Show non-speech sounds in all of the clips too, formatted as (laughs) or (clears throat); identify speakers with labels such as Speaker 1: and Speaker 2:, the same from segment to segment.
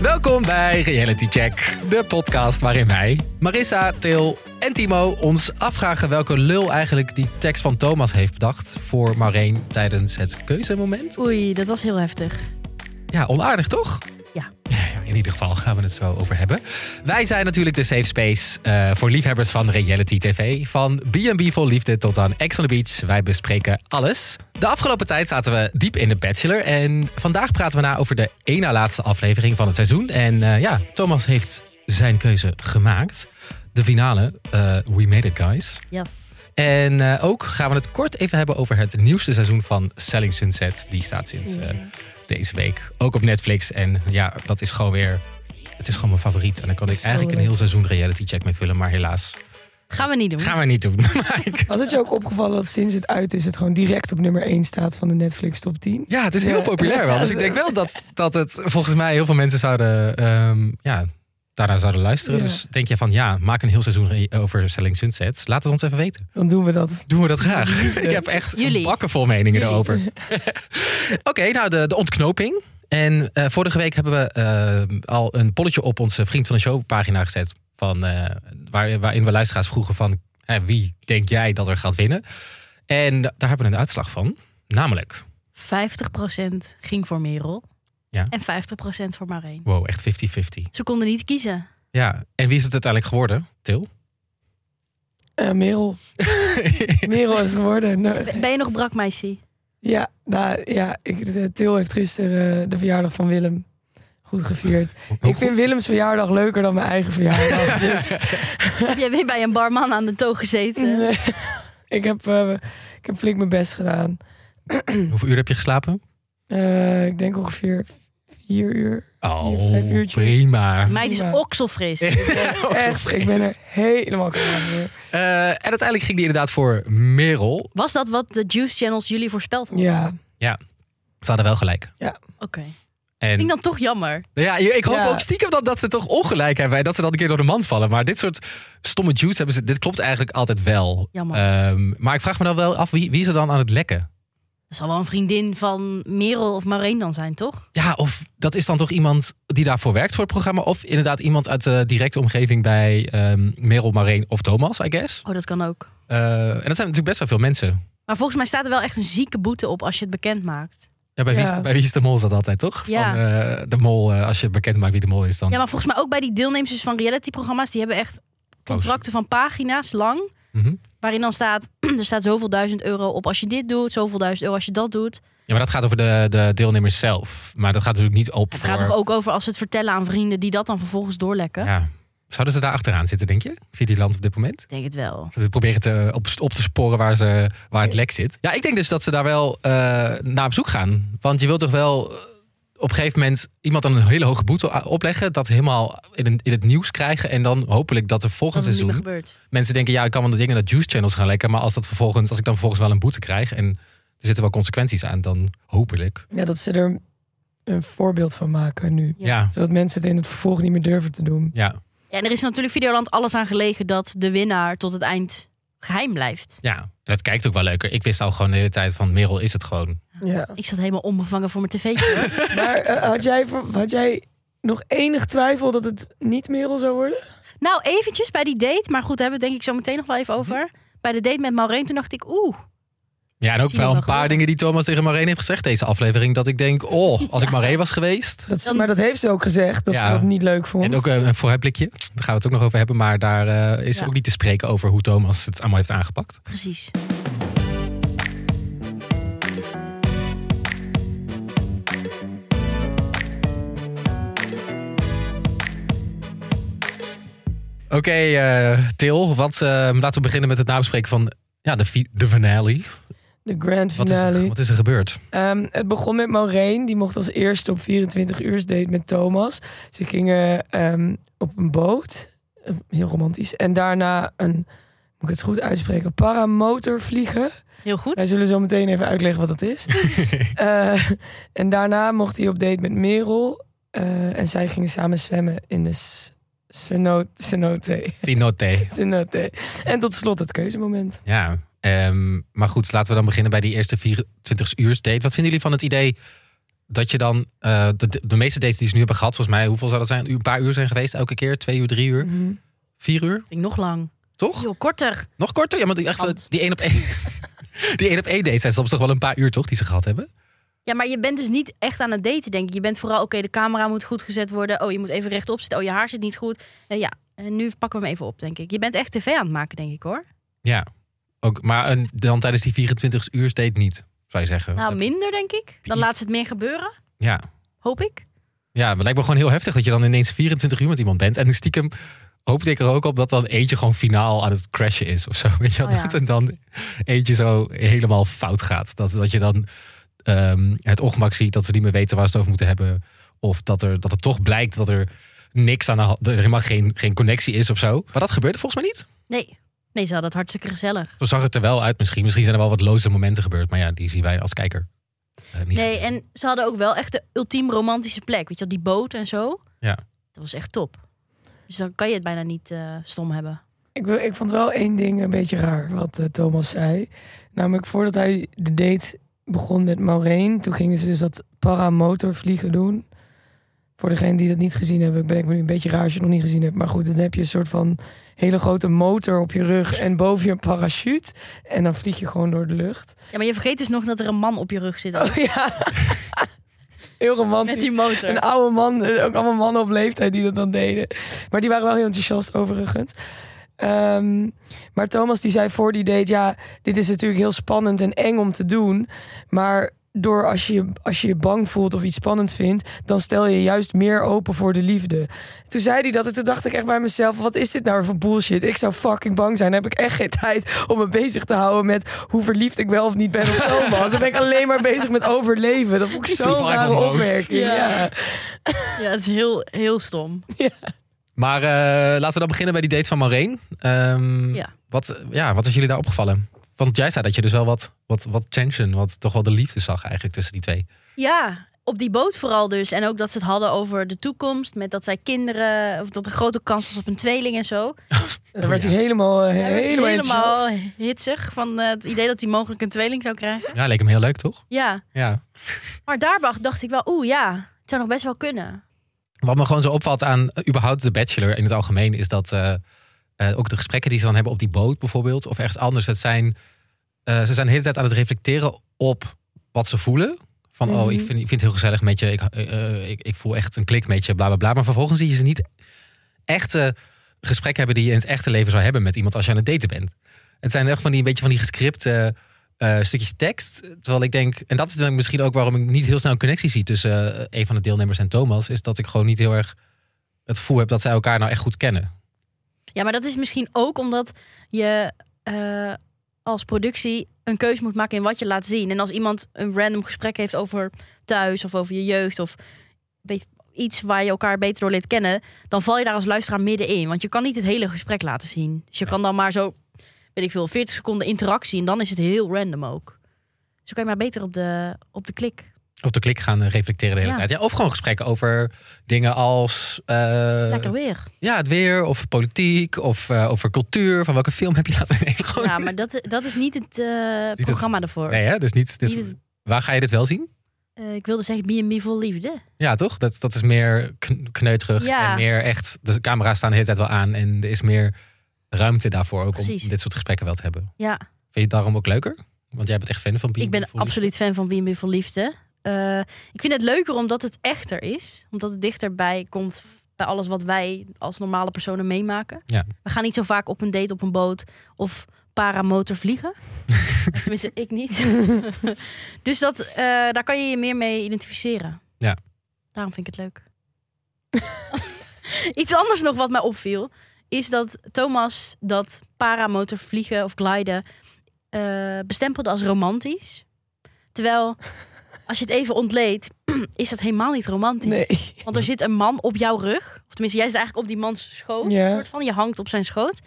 Speaker 1: Welkom bij Reality Check, de podcast waarin wij, Marissa, Til en Timo ons afvragen welke lul eigenlijk die tekst van Thomas heeft bedacht voor Maureen tijdens het keuzemoment.
Speaker 2: Oei, dat was heel heftig.
Speaker 1: Ja, onaardig toch?
Speaker 2: Ja.
Speaker 1: Ja, In ieder geval gaan we het zo over hebben. Wij zijn natuurlijk de safe space eh, voor liefhebbers van reality tv. Van B&B vol liefde tot aan Ex on the Beach. Wij bespreken alles. De afgelopen tijd zaten we diep in de Bachelor. En vandaag praten we na over de één na laatste aflevering van het seizoen. En eh, ja, Thomas heeft zijn keuze gemaakt. De finale, eh, We Made It Guys.
Speaker 2: Yes.
Speaker 1: En eh, ook gaan we het kort even hebben over het nieuwste seizoen van Selling Sunset. Die staat sinds eh, deze week ook op Netflix. En ja, dat is gewoon weer. Het is gewoon mijn favoriet. En daar kan ik
Speaker 2: Zo
Speaker 1: eigenlijk een
Speaker 2: leuk.
Speaker 1: heel seizoen reality check mee vullen. Maar helaas,
Speaker 2: Gaan we niet doen.
Speaker 1: gaan we niet doen. (laughs) Maar ik-
Speaker 3: Was het je ook opgevallen dat sinds het uit is, het gewoon direct op nummer 1 staat van de Netflix top 10?
Speaker 1: ja, het is heel
Speaker 3: Ja.
Speaker 1: populair wel. Dus ik denk wel dat, dat het volgens mij heel veel mensen zouden. ehm, ja, daarna zouden luisteren.
Speaker 3: Ja.
Speaker 1: Dus denk je van ja, maak een heel seizoen re- over Selling Sunset. Laat het ons even weten.
Speaker 3: Dan doen we dat.
Speaker 1: Doen we dat
Speaker 3: (laughs)
Speaker 1: graag. Ik heb echt
Speaker 2: Jullie.
Speaker 1: bakken vol meningen
Speaker 2: Jullie.
Speaker 1: erover. Oké, nou de, de ontknoping. En eh, vorige week hebben we eh, al een polletje op onze Vriend van de Show pagina gezet. Van, eh, waar, waarin we luisteraars vroegen van hè, wie denk jij dat er gaat winnen. En daar hebben we een uitslag van. Namelijk,
Speaker 2: 50% ging voor Merel.
Speaker 1: Ja.
Speaker 2: En 50% voor Maureen.
Speaker 1: wow, echt 50-50.
Speaker 2: Ze konden niet kiezen.
Speaker 1: Ja, en wie is het uiteindelijk geworden? Til?
Speaker 3: Eh,
Speaker 1: (laughs)
Speaker 3: Merel. Merel is geworden. Nou,
Speaker 2: Ben je nog brak, meisje?
Speaker 3: ja, nou, ja ik, de- Til heeft gisteren eh, de verjaardag van Willem goed gevierd.
Speaker 1: Hoe
Speaker 3: ik vind
Speaker 1: goed?
Speaker 3: Willems verjaardag leuker dan mijn eigen
Speaker 1: (laughs)
Speaker 3: verjaardag. dus,
Speaker 2: Heb jij weer bij een barman aan de toog gezeten?
Speaker 3: nee. (laughs) ik, heb, eh, ik heb flink mijn best gedaan.
Speaker 1: Hoeveel uur heb je geslapen?
Speaker 3: Eh, ik denk ongeveer vier
Speaker 1: (laughs)
Speaker 3: uur. vijf
Speaker 1: Oh,
Speaker 3: uurtjes.
Speaker 1: prima.
Speaker 2: Meid is
Speaker 3: prima.
Speaker 2: okselfris.
Speaker 1: Ook zo
Speaker 3: Echt, ik ben
Speaker 1: fris.
Speaker 3: er helemaal klaar voor.
Speaker 1: Eh, en uiteindelijk ging die inderdaad voor Merel.
Speaker 2: Was dat wat de Juice Channels jullie voorspeld hadden?
Speaker 3: Ja,
Speaker 1: Ze hadden wel gelijk.
Speaker 2: Oké. Vind ik
Speaker 1: En
Speaker 2: dan toch jammer.
Speaker 1: ja, ik hoop
Speaker 3: Ja.
Speaker 1: ook stiekem dat, dat ze toch ongelijk hebben. En dat ze dan een keer door de mand vallen. Maar dit soort stomme juice hebben ze. Dit klopt eigenlijk altijd wel.
Speaker 2: Jammer.
Speaker 1: Ehm, maar ik vraag me dan wel af wie, wie ze dan aan het lekken.
Speaker 2: Dat zal wel een vriendin van Merel of Maureen dan zijn, toch?
Speaker 1: Ja, of dat is dan toch iemand die daarvoor werkt voor het programma. Of inderdaad iemand uit de directe omgeving bij ehm, Merel, Mareen of Thomas, I guess.
Speaker 2: Oh, dat kan ook.
Speaker 1: Eh, en dat zijn natuurlijk best wel veel mensen.
Speaker 2: Maar volgens mij staat er wel echt een zieke boete op als je het bekend maakt.
Speaker 1: Ja, bij, Wie is,
Speaker 3: Ja.
Speaker 1: bij Wie is de Mol is dat altijd, toch?
Speaker 2: Ja.
Speaker 1: Van, eh, de Mol, eh, als je bekend maakt wie de Mol is, dan...
Speaker 2: Ja, maar volgens mij ook bij die deelnemers van realityprogramma's, die hebben echt contracten van pagina's lang.
Speaker 1: Mhm.
Speaker 2: Waarin dan staat, (clears throat) er staat zoveel duizend euro op als je dit doet, zoveel duizend euro als je dat doet.
Speaker 1: Ja, maar dat gaat over de, de deelnemers zelf. Maar dat gaat natuurlijk niet op
Speaker 2: Het
Speaker 1: voor...
Speaker 2: gaat toch ook over als ze het vertellen aan vrienden die dat dan vervolgens doorlekken?
Speaker 1: Ja. Zouden ze daar achteraan zitten, denk je? Videoland op dit moment?
Speaker 2: Ik denk het wel.
Speaker 1: Dat ze proberen te, op, op te sporen waar, ze, waar het lek zit. Ja, ik denk dus dat ze daar wel eh, naar op zoek gaan. Want je wilt toch wel eh, op een gegeven moment iemand dan een hele hoge boete a- opleggen. Dat helemaal in, een- in het nieuws krijgen. En dan hopelijk dat er
Speaker 2: Dat
Speaker 1: volgend
Speaker 2: is niet meer
Speaker 1: seizoen
Speaker 2: gebeurd.
Speaker 1: mensen denken... ja, ik kan wel de dingen naar juice channels gaan lekken. Maar als, dat vervolgens, als ik dan vervolgens wel een boete krijg... en er zitten wel consequenties aan, dan hopelijk.
Speaker 3: ja, dat ze er een voorbeeld van maken nu.
Speaker 2: Ja.
Speaker 1: ja.
Speaker 3: Zodat mensen het in het vervolg niet meer durven te doen.
Speaker 1: ja.
Speaker 2: Ja, en er is natuurlijk Videoland alles aan gelegen dat de winnaar tot het eind geheim blijft.
Speaker 1: Ja, en dat kijkt ook wel leuker. Ik wist al gewoon de hele tijd van Merel is het gewoon.
Speaker 3: Ja.
Speaker 2: Ik zat helemaal onbevangen voor mijn tv.
Speaker 3: (laughs)
Speaker 1: (laughs)
Speaker 3: Maar eh, had, jij, voor- had jij nog enig twijfel dat het niet Merel zou worden?
Speaker 2: nou, eventjes bij die date, maar goed, daar hebben we het denk ik zo meteen nog wel even
Speaker 1: Mhm.
Speaker 2: over. Bij de date met Maureen, toen dacht ik, oeh,
Speaker 1: Ja, en ook
Speaker 2: Zie je
Speaker 1: wel een
Speaker 2: wel
Speaker 1: paar
Speaker 2: gewoon.
Speaker 1: dingen die Thomas tegen Marijn heeft gezegd deze aflevering. Dat ik denk, oh, als ik Marijn was geweest.
Speaker 3: Dat ze-
Speaker 2: Dan-
Speaker 3: maar dat heeft ze ook gezegd, dat
Speaker 1: Ja.
Speaker 3: ze dat niet leuk vond.
Speaker 1: En ook eh, een vooruitblikje, daar gaan we het ook nog over hebben. Maar daar eh, is
Speaker 2: Ja.
Speaker 1: ook niet te spreken over hoe Thomas het allemaal heeft aangepakt.
Speaker 2: precies.
Speaker 1: Oké, eh, Til, wat, eh, laten we beginnen met het nabespreken van ja, de, fi- de finale.
Speaker 3: de grand
Speaker 1: Wat is,
Speaker 3: finale.
Speaker 1: er, wat is er gebeurd?
Speaker 3: Ehm, het begon met Maureen, die mocht als eerste op 24 uur date met Thomas. Ze gingen ehm, op een boot, Eh, heel romantisch. En daarna een, moet ik het goed uitspreken, paramotor vliegen.
Speaker 2: Heel goed.
Speaker 3: Wij zullen zo meteen even uitleggen wat dat is. Eh, en daarna mocht hij op date met Merel. eh, en zij gingen samen zwemmen in de s- ceno- (laughs) cenote.
Speaker 1: Finote.
Speaker 3: Cenote. En tot slot het keuzemoment.
Speaker 1: Ja, ehm, maar goed, laten we dan beginnen bij die eerste 24 uur date. Wat vinden jullie van het idee dat je dan eh, de, de meeste dates die ze nu hebben gehad, volgens mij, hoeveel zou dat zijn? Een paar uur zijn geweest elke keer? Twee uur, drie uur,
Speaker 3: Mhm.
Speaker 1: vier uur,
Speaker 2: Vind ik nog lang.
Speaker 1: toch?
Speaker 2: Joh, korter.
Speaker 1: Nog korter? Ja, maar die- echt,
Speaker 2: Kant.
Speaker 1: die één op één. (laughs) Die één op één dates zijn soms toch wel een paar uur, toch? Die ze gehad hebben.
Speaker 2: Ja, maar je bent dus niet echt aan het daten, denk ik. Je bent vooral, oké, de camera moet goed gezet worden. Oh, je moet even rechtop zitten. Oh, je haar zit niet goed. Eh, ja, en nu pakken we hem even op, denk ik. Je bent echt tv aan het maken, denk ik, hoor.
Speaker 1: Ja. Ook, maar een, dan tijdens die 24 uur date niet, zou je zeggen.
Speaker 2: Nou,
Speaker 1: Dat-
Speaker 2: minder, denk ik. Dan laat ze het meer gebeuren,
Speaker 1: ja.
Speaker 2: hoop ik.
Speaker 1: Ja, maar het lijkt me gewoon heel heftig dat je dan ineens 24 uur met iemand bent. En stiekem hoopte ik er ook op dat dan eentje gewoon finaal aan het crashen is of zo. (laughs) Weet je, wel?
Speaker 2: Oh ja.
Speaker 1: dat er dan eentje zo helemaal fout gaat. Dat, dat je dan ehm, het ongemak ziet dat ze niet meer weten waar ze het over moeten hebben. Of dat er, dat er toch blijkt dat er niks aan de hand, dat er helemaal geen, geen connectie is of zo. Maar dat gebeurde volgens mij niet.
Speaker 2: Nee, nee ze hadden het hartstikke gezellig.
Speaker 1: Zo zag het er wel uit misschien. Misschien zijn er wel wat loze momenten gebeurd. Maar ja, die zien wij als kijker. eh, niet.
Speaker 2: Nee, en ze hadden ook wel echt de ultiem romantische plek. Weet je wel, die boot en zo.
Speaker 1: Ja.
Speaker 2: Dat was echt top. Dus dan kan je het bijna niet eh, stom hebben.
Speaker 3: Ik, wil- ik vond wel één ding een beetje raar wat eh, Thomas zei. Namelijk voordat hij de date begon met Maureen, toen gingen ze dus dat paramotorvliegen doen. Voor degene die dat niet gezien hebben, ben ik me nu een beetje raar als je het nog niet gezien hebt. Maar goed, dan heb je een soort van hele grote motor op je rug en boven je een parachute. En dan vlieg je gewoon door de lucht.
Speaker 2: Ja, maar je vergeet dus nog dat er een man op je rug zit.
Speaker 3: Oh ja, heel
Speaker 1: Oh,
Speaker 3: romantisch.
Speaker 2: (laughs) met die motor.
Speaker 3: Een oude man, eh, ook allemaal mannen op leeftijd die dat dan deden. Maar die waren wel heel enthousiast overigens. Ehm, maar Thomas die zei voor die date, ja, dit is natuurlijk heel spannend en eng om te doen. Maar door als je, als je je bang voelt of iets spannend vindt, dan stel je je juist meer open voor de liefde. Toen zei hij dat en toen dacht ik echt bij mezelf, wat is dit nou voor bullshit? Ik zou fucking bang zijn. Dan heb ik echt geen tijd om me bezig te houden met hoe verliefd ik wel of niet ben op Thomas. Dan ben ik alleen maar bezig met overleven. Dat vond ik zo'n
Speaker 1: Survival
Speaker 3: rare
Speaker 1: mode.
Speaker 3: opmerking.
Speaker 2: Ja.
Speaker 3: ja.
Speaker 2: Ja, het is heel, heel stom.
Speaker 1: Maar eh, laten we dan beginnen bij die date van Maureen. Ehm,
Speaker 2: Ja.
Speaker 1: Wat, ja, wat is jullie daar opgevallen? Want jij zei dat je dus wel wat, wat, wat tension, wat toch wel de liefde zag eigenlijk tussen die twee.
Speaker 2: Ja, op die boot vooral dus. En ook dat ze het hadden over de toekomst. Met dat zij kinderen, of dat er grote kans was op een tweeling en zo.
Speaker 3: Daar werd
Speaker 1: Oh,
Speaker 3: hij helemaal, eh,
Speaker 2: Hij werd
Speaker 3: helemaal,
Speaker 2: helemaal
Speaker 3: enthousiast.
Speaker 2: hitsig van eh, het idee dat hij mogelijk een tweeling zou krijgen.
Speaker 1: Ja, leek hem heel leuk, toch?
Speaker 2: Ja,
Speaker 1: Ja.
Speaker 2: maar daarbij dacht ik wel, oeh ja, het zou nog best wel kunnen.
Speaker 1: Wat me gewoon zo opvalt aan eh, überhaupt de bachelor in het algemeen... is dat eh, eh, ook de gesprekken die ze dan hebben op die boot bijvoorbeeld... of ergens anders, dat zijn, eh, ze zijn de hele tijd aan het reflecteren op wat ze voelen... Van, oh,
Speaker 3: Mhm.
Speaker 1: ik vind, ik vind het heel gezellig met je. Ik, eh, ik, ik voel echt een klik met je, bla, bla, bla. Maar vervolgens zie je ze niet echte gesprekken hebben die je in het echte leven zou hebben met iemand als je aan het daten bent. Het zijn echt van die een beetje van die gescripte eh, stukjes tekst. Terwijl ik denk, en dat is dan misschien ook waarom ik niet heel snel een connectie zie tussen eh, een van de deelnemers en Thomas, is dat ik gewoon niet heel erg het gevoel heb dat zij elkaar nou echt goed kennen.
Speaker 2: Ja, maar dat is misschien ook omdat je eh, als productie een keuze moet maken in wat je laat zien. En als iemand een random gesprek heeft over thuis of over je jeugd of weet- iets waar je elkaar beter door leert kennen, dan val je daar als luisteraar middenin. Want je kan niet het hele gesprek laten zien. Dus je kan dan maar zo, weet ik veel, 40 seconden interactie en dan is het heel random ook. Zo kan je maar beter op de, op de klik.
Speaker 1: Op de klik gaan eh, reflecteren de hele
Speaker 2: Ja.
Speaker 1: tijd. Ja, of gewoon gesprekken over dingen als eh,
Speaker 2: Lekker weer.
Speaker 1: ja, het weer, of politiek, of eh, over cultuur. Van welke film heb je laten (laughs) nee, gewoon-
Speaker 2: Ja, maar dat, dat is niet het eh,
Speaker 1: het-
Speaker 2: programma daarvoor.
Speaker 1: Nee, hè? dus niet. Dit,
Speaker 2: Niet het-
Speaker 1: Waar ga je dit wel zien?
Speaker 2: Eh, ik wilde zeggen B&B vol liefde.
Speaker 1: Ja, toch? Dat, dat is meer kn- kneuterig
Speaker 2: Ja.
Speaker 1: en meer echt... De camera's staan de hele tijd wel aan en er is meer ruimte daarvoor ook om
Speaker 2: Precies.
Speaker 1: dit soort gesprekken wel te hebben. Vind
Speaker 2: Ja.
Speaker 1: je het daarom ook leuker? Want jij bent echt fan van B&B.
Speaker 2: Ik ben
Speaker 1: Voor Liefde.
Speaker 2: absoluut fan van B&B voor Liefde. Eh, ik vind het leuker omdat het echter is. Omdat het dichterbij komt bij alles wat wij als normale personen meemaken.
Speaker 1: Ja.
Speaker 2: We gaan niet zo vaak op een date op een boot of paramotor
Speaker 1: (laughs)
Speaker 2: vliegen. Tenminste, ik niet. (laughs) dus dat, eh, daar kan je je meer mee identificeren.
Speaker 1: Ja.
Speaker 2: Daarom vind ik het leuk. (laughs) Iets anders nog wat mij opviel... is dat Thomas dat paramotor vliegen of gliden... eh, bestempelde als romantisch.
Speaker 3: (laughs)
Speaker 2: Terwijl, als je het even ontleedt... (clears throat) is dat helemaal niet romantisch.
Speaker 3: Nee.
Speaker 2: Want er zit een man op jouw rug. Of tenminste, jij zit eigenlijk op die mans schoot.
Speaker 3: Ja.
Speaker 2: Soort van. Je hangt op zijn schoot.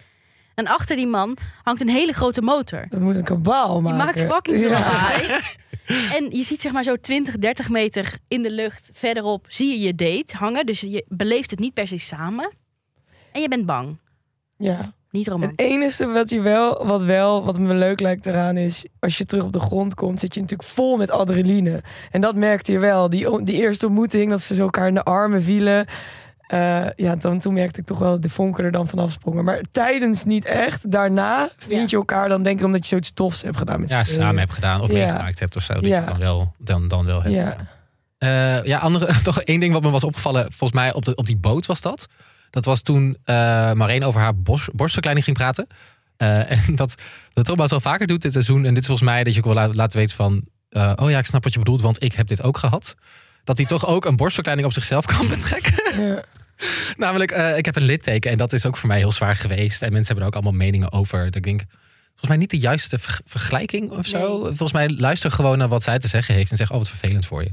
Speaker 2: En achter die man hangt een hele grote motor.
Speaker 3: Dat moet een kabaal
Speaker 2: Die
Speaker 3: maken.
Speaker 2: maakt fucking veel
Speaker 3: eh, Ja.
Speaker 2: lawaai.
Speaker 3: (laughs)
Speaker 2: En je ziet zeg maar zo 20, 30 meter in de lucht verderop... zie je je date hangen. Dus je beleeft het niet per se samen. En je bent bang.
Speaker 3: Ja.
Speaker 2: Niet
Speaker 3: Het
Speaker 2: romantisch.
Speaker 3: enige wat, je wel, wat wel, wat me leuk lijkt eraan is, als je terug op de grond komt, zit je natuurlijk vol met adrenaline. En dat merkte je wel. Die, die eerste ontmoeting, dat ze zo elkaar in de armen vielen. Eh, ja, dan, toen merkte ik toch wel dat de vonken er dan vanaf sprongen. Maar tijdens niet echt. Daarna vind
Speaker 2: Ja.
Speaker 3: je elkaar dan denk ik omdat je zoiets tofs hebt gedaan met
Speaker 1: Ja,
Speaker 3: z'n
Speaker 1: samen hebt gedaan of
Speaker 3: eh, Ja.
Speaker 1: meegemaakt hebt of zo. Dat
Speaker 3: Ja.
Speaker 1: je dan wel, dan, dan wel hebt.
Speaker 3: tweeën.
Speaker 1: Ja, ja andere, (laughs) toch één ding wat me was opgevallen. Volgens mij op, de, op die boot was dat. Dat was toen eh Maureen over haar bos, borstverkleining ging praten. Eh, (laughs) en dat, dat Thomas al vaker doet dit seizoen. En dit is volgens mij dat je ook wel laat, laat weten van... eh, oh ja, ik snap wat je bedoelt, want ik heb dit ook gehad. Dat hij toch ook een borstverkleining op zichzelf (laughs) kan betrekken.
Speaker 3: Ja.
Speaker 1: Namelijk, eh, ik heb een litteken en dat is ook voor mij heel zwaar geweest. En mensen hebben er ook allemaal meningen over. Dat ik denk, volgens mij niet de juiste verg- vergelijking of zo.
Speaker 2: Nee.
Speaker 1: Volgens mij luister gewoon naar wat zij te zeggen heeft en zeg, oh wat vervelend voor je.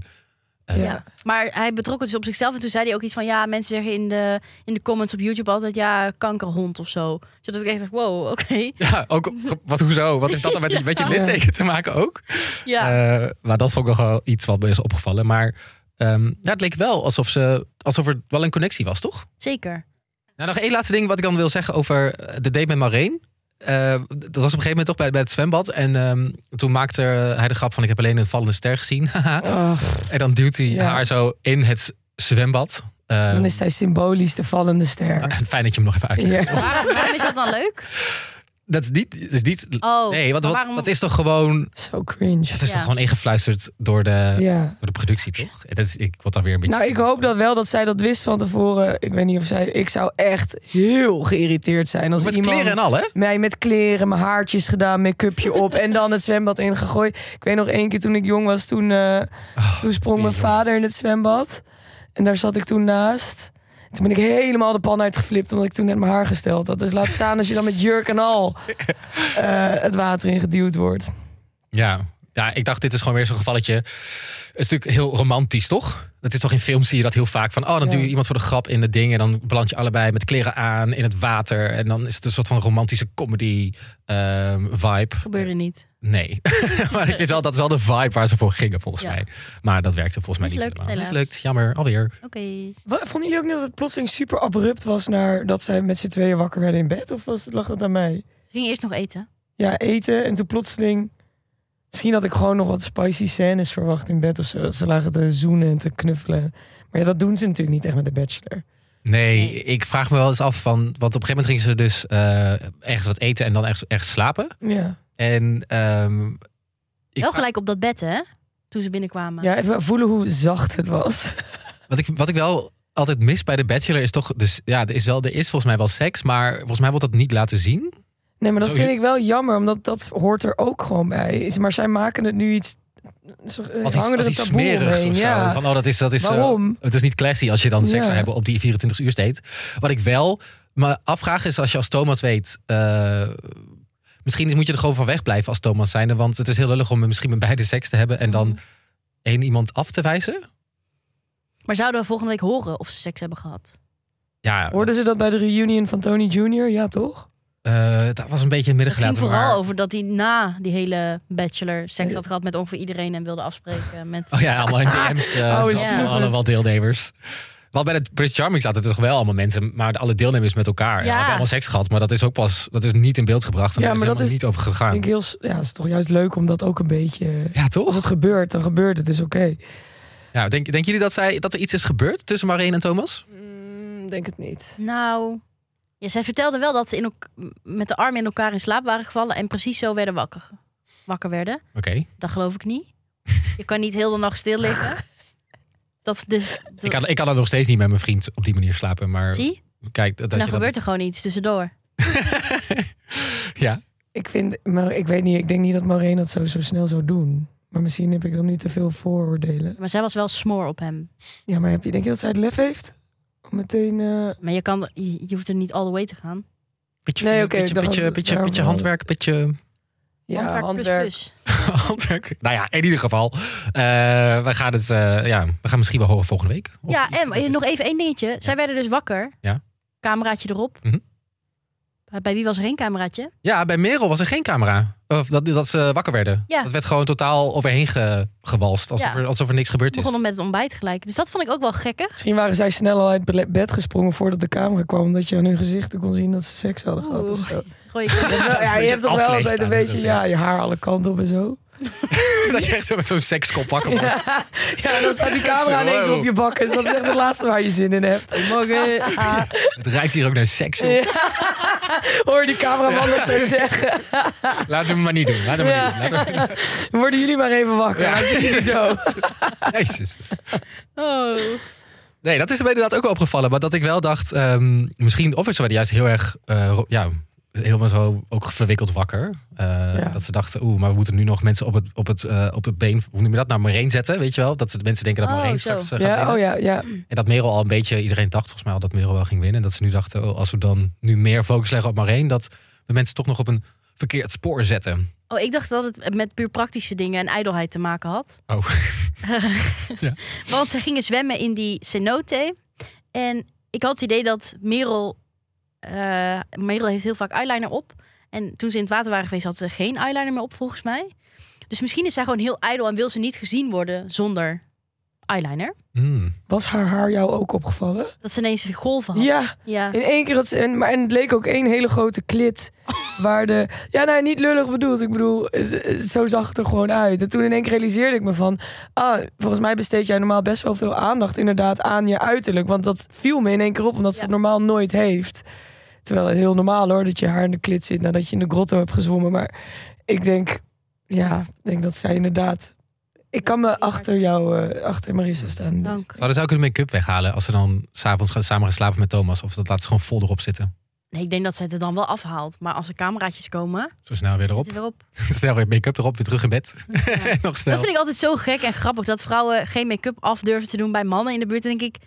Speaker 3: Ja.
Speaker 2: Ja. Maar hij betrok het dus op zichzelf. En toen zei hij ook iets van... Ja, mensen zeggen in de, in de comments op YouTube altijd... Ja, kankerhond of zo. Zodat ik echt dacht, wow, oké. (laughs)
Speaker 1: Ja, ook, wat hoezo? Wat heeft dat dan met, die- met je
Speaker 2: Ja.
Speaker 1: litteken te maken ook?
Speaker 2: Ja.
Speaker 1: Eh, maar dat vond ik nog wel iets wat me is opgevallen. Maar ehm, ja, het leek wel alsof, ze, alsof er wel een connectie was, toch?
Speaker 2: Zeker.
Speaker 1: Nou, nog één laatste ding wat ik dan wil zeggen over eh, de date met Maureen. Eh, dat was op een gegeven moment toch bij, bij het zwembad. En ehm, toen maakte hij de grap van ik heb alleen een vallende ster gezien. (laughs) Haha.
Speaker 3: Ach,
Speaker 1: en dan duwt hij
Speaker 3: Ja.
Speaker 1: haar zo in het zwembad. Eh,
Speaker 3: dan is
Speaker 1: (laughs)
Speaker 3: zij symbolisch de vallende ster.
Speaker 1: Fijn dat je hem nog even uitlegt.
Speaker 3: Ja.
Speaker 2: Waarom, waarom is dat dan leuk?
Speaker 1: (laughs) Dat is niet... Dat is niet
Speaker 2: Oh,
Speaker 1: nee, want
Speaker 2: maar
Speaker 1: wat,
Speaker 2: waarom-
Speaker 1: dat is toch gewoon...
Speaker 3: Zo cringe.
Speaker 1: Het is
Speaker 2: Ja.
Speaker 1: toch gewoon ingefluisterd door de,
Speaker 3: Ja.
Speaker 1: door de productie, toch? En Dat is, ik word daar weer een beetje...
Speaker 3: Nou, ik
Speaker 1: cynisch
Speaker 3: hoop
Speaker 1: van.
Speaker 3: dat wel dat zij dat wist van tevoren. Ik weet niet of zij. Ik zou echt heel geïrriteerd zijn als
Speaker 1: Met
Speaker 3: iemand
Speaker 1: kleren en al, hè?
Speaker 3: mij met kleren, mijn haartjes gedaan, make-upje op en dan het zwembad ingegooid. Ik weet nog één keer toen ik jong was, toen, eh,
Speaker 1: Ah,
Speaker 3: toen sprong mijn
Speaker 1: jongen.
Speaker 3: vader in het zwembad en daar zat ik toen naast. Toen ben ik helemaal de pan uitgeflipt omdat ik toen net mijn haar gesteld had. Dus laat staan als je dan met jurk en
Speaker 1: (laughs)
Speaker 3: al eh, het water ingeduwd wordt.
Speaker 1: Ja. ja, ik dacht, dit is gewoon weer zo'n gevalletje. Het is natuurlijk heel romantisch, toch? Het is toch in films zie je dat heel vaak van... oh, dan
Speaker 3: Ja.
Speaker 1: duw je iemand voor de grap in het ding... en dan beland je allebei met kleren aan in het water... en dan is het een soort van romantische comedy-vibe.
Speaker 2: Gebeurde niet.
Speaker 1: nee, (laughs) maar ik wist wel, dat is wel de vibe waar ze voor gingen, volgens
Speaker 2: Ja.
Speaker 1: mij. Maar dat werkte volgens mij niet
Speaker 2: Mislukt,
Speaker 1: helemaal.
Speaker 2: helaas.
Speaker 1: Mislukt, jammer, alweer.
Speaker 2: Oké.
Speaker 3: Wat, vonden jullie ook niet dat het plotseling super abrupt was naar dat zij met z'n tweeën wakker werden in bed? Of was, lag dat aan mij?
Speaker 2: Ze gingen eerst nog eten.
Speaker 3: ja, eten. En toen plotseling. Misschien had ik gewoon nog wat spicy scènes verwacht in bed of zo. Dat ze lagen te zoenen en te knuffelen. Maar ja, dat doen ze natuurlijk niet echt met de Bachelor.
Speaker 1: Nee,
Speaker 2: Nee.
Speaker 1: ik vraag me wel eens af van... want op een gegeven moment gingen ze dus eh, ergens wat eten... en dan ergens, ergens slapen.
Speaker 3: Ja.
Speaker 1: En... ehm, ik
Speaker 2: Wel
Speaker 1: vraag-
Speaker 2: gelijk op dat bed, hè? Toen ze binnenkwamen.
Speaker 3: ja, even voelen hoe zacht het was.
Speaker 1: Wat ik, wat ik wel altijd mis bij de Bachelor is toch... Dus, ja, er, is wel, er is volgens mij wel seks, maar volgens mij wordt dat niet laten zien.
Speaker 3: Nee, maar dat
Speaker 1: Zo-
Speaker 3: vind ik wel jammer, omdat dat hoort er ook gewoon bij. Is- Maar zij maken het nu iets. Ze
Speaker 1: Als iets,
Speaker 3: hangen
Speaker 1: als
Speaker 3: er een
Speaker 1: iets
Speaker 3: taboe
Speaker 1: smerigs
Speaker 3: omheen.
Speaker 1: of zo.
Speaker 3: Ja.
Speaker 1: Van, oh, dat is, dat is, eh,
Speaker 3: Waarom?
Speaker 1: het is niet classy als je dan seks
Speaker 3: Ja.
Speaker 1: zou hebben op die 24 uur date. Wat ik wel me afvraag is als je als Thomas weet... eh, misschien moet je er gewoon van wegblijven als Thomas zijnde. Want het is heel lullig om misschien met beide seks te hebben... en
Speaker 3: Mhm.
Speaker 1: dan één iemand af te wijzen.
Speaker 2: Maar zouden we volgende week horen of ze seks hebben gehad?
Speaker 1: Ja,
Speaker 3: Hoorden ze dat bij de reunion van Tony Jr.? Ja, toch?
Speaker 1: eh, dat was een beetje in het
Speaker 2: Het
Speaker 1: midden
Speaker 2: ging
Speaker 1: gelaten.
Speaker 2: vooral
Speaker 1: maar-
Speaker 2: over dat hij na die hele bachelor seks had gehad met ongeveer iedereen en wilde (laughs) afspreken met...
Speaker 1: Oh ja, allemaal in
Speaker 3: (laughs)
Speaker 1: DM's. eh
Speaker 3: Oh,
Speaker 1: zat
Speaker 3: ja.
Speaker 1: allemaal- allemaal deelnemers. Want bij het Prince Charming zaten er toch wel allemaal mensen, maar alle deelnemers met elkaar. En
Speaker 2: Ja.
Speaker 1: hadden allemaal seks gehad, maar dat is ook pas, dat is niet in beeld gebracht. En
Speaker 3: Ja,
Speaker 1: daar is
Speaker 3: maar dat
Speaker 1: helemaal
Speaker 3: is-
Speaker 1: niet over gegaan.
Speaker 3: Ik denk heel, s- ja, het is toch juist leuk om dat ook een beetje.
Speaker 1: Ja,
Speaker 3: Als
Speaker 1: toch?
Speaker 3: het gebeurt, dan gebeurt het, dus oké.
Speaker 1: Ja, denk, denken jullie dat, zij, dat er iets is gebeurd tussen Maureen en Thomas?
Speaker 3: Mm, denk het niet.
Speaker 2: Nou... Ja, zij vertelde wel dat ze in elk- met de armen in elkaar in slaap waren gevallen en precies zo werden wakker. Wakker werden.
Speaker 1: Oké.
Speaker 2: Dat geloof ik niet. Je kan niet heel de nacht stil liggen. Dat (laughs) dus...
Speaker 1: Ik, kan, ik kan er nog steeds niet met mijn vriend op die manier slapen, maar
Speaker 2: Zie?
Speaker 1: kijk, dat, dat
Speaker 3: Nou,
Speaker 2: Dan
Speaker 1: je dan-
Speaker 2: gebeurt er gewoon iets tussendoor.
Speaker 1: Ja,
Speaker 3: Ik vind, maar ik weet niet, ik denk niet dat Maureen dat zo, zo snel zou doen. Maar misschien heb ik dan nu te veel vooroordelen.
Speaker 2: Maar zij was wel smoor op hem.
Speaker 3: Ja, maar heb je, denk je dat zij het lef heeft? Om meteen. eh,
Speaker 2: Maar je, kan, je, je hoeft er niet all the way te gaan.
Speaker 1: (laughs) beetje,
Speaker 3: Nee,
Speaker 1: nee,
Speaker 3: oké,
Speaker 1: beetje,
Speaker 3: ik dacht
Speaker 1: beetje,
Speaker 3: dat-
Speaker 1: beetje,
Speaker 3: daarom-
Speaker 1: beetje handwerk, beetje (laughs)
Speaker 3: ja,
Speaker 2: Handwerk plus plus.
Speaker 1: handwerk. Nou ja, in ieder geval, eh, we gaan het, eh, ja, we gaan misschien wel horen volgende week. Of
Speaker 2: Ja,
Speaker 3: eh,
Speaker 1: iets
Speaker 2: en eh,
Speaker 1: gebeurd is.
Speaker 2: nog even één dingetje. Zij werden dus wakker.
Speaker 1: Ja.
Speaker 2: Cameraatje erop.
Speaker 1: Mhm.
Speaker 2: Bij wie was er geen cameraatje?
Speaker 1: Ja, bij Merel was er geen camera. Of dat, dat ze wakker werden.
Speaker 2: Ja.
Speaker 1: Dat werd gewoon totaal overheen ge- gewalst. Alsof,
Speaker 2: Ja.
Speaker 1: er, alsof er niks
Speaker 2: We
Speaker 1: gebeurd is.
Speaker 2: begonnen met het ontbijt gelijk. Dus dat vond ik ook wel gekker.
Speaker 3: Misschien waren zij snel al uit bele- bed gesprongen voordat de camera kwam. Omdat je aan hun gezichten kon zien dat ze seks hadden gehad. Of
Speaker 2: Oeh.
Speaker 3: zo.
Speaker 2: Gooi ik-
Speaker 1: (laughs) Dat is
Speaker 3: ja,
Speaker 1: een
Speaker 3: je hebt
Speaker 1: beetje
Speaker 3: toch wel
Speaker 1: afvlees
Speaker 3: altijd
Speaker 1: staan,
Speaker 3: een
Speaker 1: hè,
Speaker 3: beetje
Speaker 1: dat is
Speaker 3: ja,
Speaker 1: echt-
Speaker 3: je haar alle kanten op en zo.
Speaker 1: (laughs) dat je echt zo met zo'n sekskop wakker wordt.
Speaker 3: Ja, en dan staat die camera in één keer op je bakken. Dus dat is echt het laatste waar je zin in hebt.
Speaker 2: Morgen.
Speaker 1: Het ruikt hier ook naar seks. joh.
Speaker 3: Ja. Hoor je die cameraman dat zo zeggen.
Speaker 1: Laten we maar niet doen. Laten we maar
Speaker 3: Ja.
Speaker 1: niet doen. Laten we-
Speaker 3: (laughs) Worden jullie maar even wakker.
Speaker 1: Ja.
Speaker 3: Dan zitten jullie zo.
Speaker 1: (laughs) Jezus.
Speaker 2: (laughs) Oh.
Speaker 1: Nee, dat is me inderdaad ook wel opgevallen. Maar dat ik wel dacht, ehm, misschien of ze werden juist heel erg, eh, ro- ja, helemaal zo ook verwikkeld wakker. Eh, Dat ze dachten, oeh, maar we moeten nu nog mensen op het, op het, eh, op het been, hoe noem je dat, naar Marijn zetten, weet je wel? Dat ze de mensen denken dat
Speaker 2: Oh,
Speaker 1: Marijn
Speaker 2: zo.
Speaker 1: straks eh, gaat winnen.
Speaker 3: Ja, oh ja, ja.
Speaker 1: En dat Merel al een beetje, iedereen dacht volgens mij al dat Merel wel ging winnen. En dat ze nu dachten, oh, als we dan nu meer focus leggen op Marijn, dat we mensen toch nog op een verkeerd spoor zetten.
Speaker 2: oh, ik dacht dat het met puur praktische dingen en ijdelheid te maken had.
Speaker 1: Oh.
Speaker 2: (laughs)
Speaker 1: Ja.
Speaker 2: Want zij gingen zwemmen in die cenote. En ik had het idee dat Merel... eh, Merel heeft heel vaak eyeliner op. En toen ze in het water waren geweest, had ze geen eyeliner meer op, volgens mij. Dus misschien is zij gewoon heel ijdel en wil ze niet gezien worden zonder eyeliner.
Speaker 1: Hmm.
Speaker 3: Was haar haar jou ook opgevallen?
Speaker 2: Dat ze ineens golven had.
Speaker 3: Ja,
Speaker 2: Ja.
Speaker 3: in één keer had ze... En, maar en het leek ook één hele grote klit. Waar de... Ja, nee, niet lullig bedoeld. Ik bedoel, eh, eh, zo zag het er gewoon uit. En toen in één keer realiseerde ik me van... Ah, volgens mij besteed jij normaal best wel veel aandacht inderdaad aan je uiterlijk. Want dat viel me in één keer op, omdat ze
Speaker 2: Ja.
Speaker 3: het normaal nooit heeft. Terwijl het heel normaal hoor, dat je haar in de klit zit nadat je in de grotto hebt gezwommen. Maar ik denk... Ja, ik denk dat zij inderdaad... Ik kan me achter jou, eh, achter Marissa staan.
Speaker 2: Dank.
Speaker 1: Zouden ze ook hun make-up weghalen als ze dan s'avonds gaan samen gaan slapen met Thomas? Of dat laat ze gewoon vol erop zitten?
Speaker 2: Nee, ik denk dat zij het er dan wel afhaalt. Maar als er cameraatjes komen,
Speaker 1: Zo snel weer
Speaker 2: zit
Speaker 1: erop.
Speaker 2: er weer op.
Speaker 1: (laughs) snel weer make-up erop, weer terug in bed. (laughs) Nog snel.
Speaker 2: Dat vind ik altijd zo gek en grappig dat vrouwen geen make-up af durven te doen bij mannen in de buurt. Dan denk ik,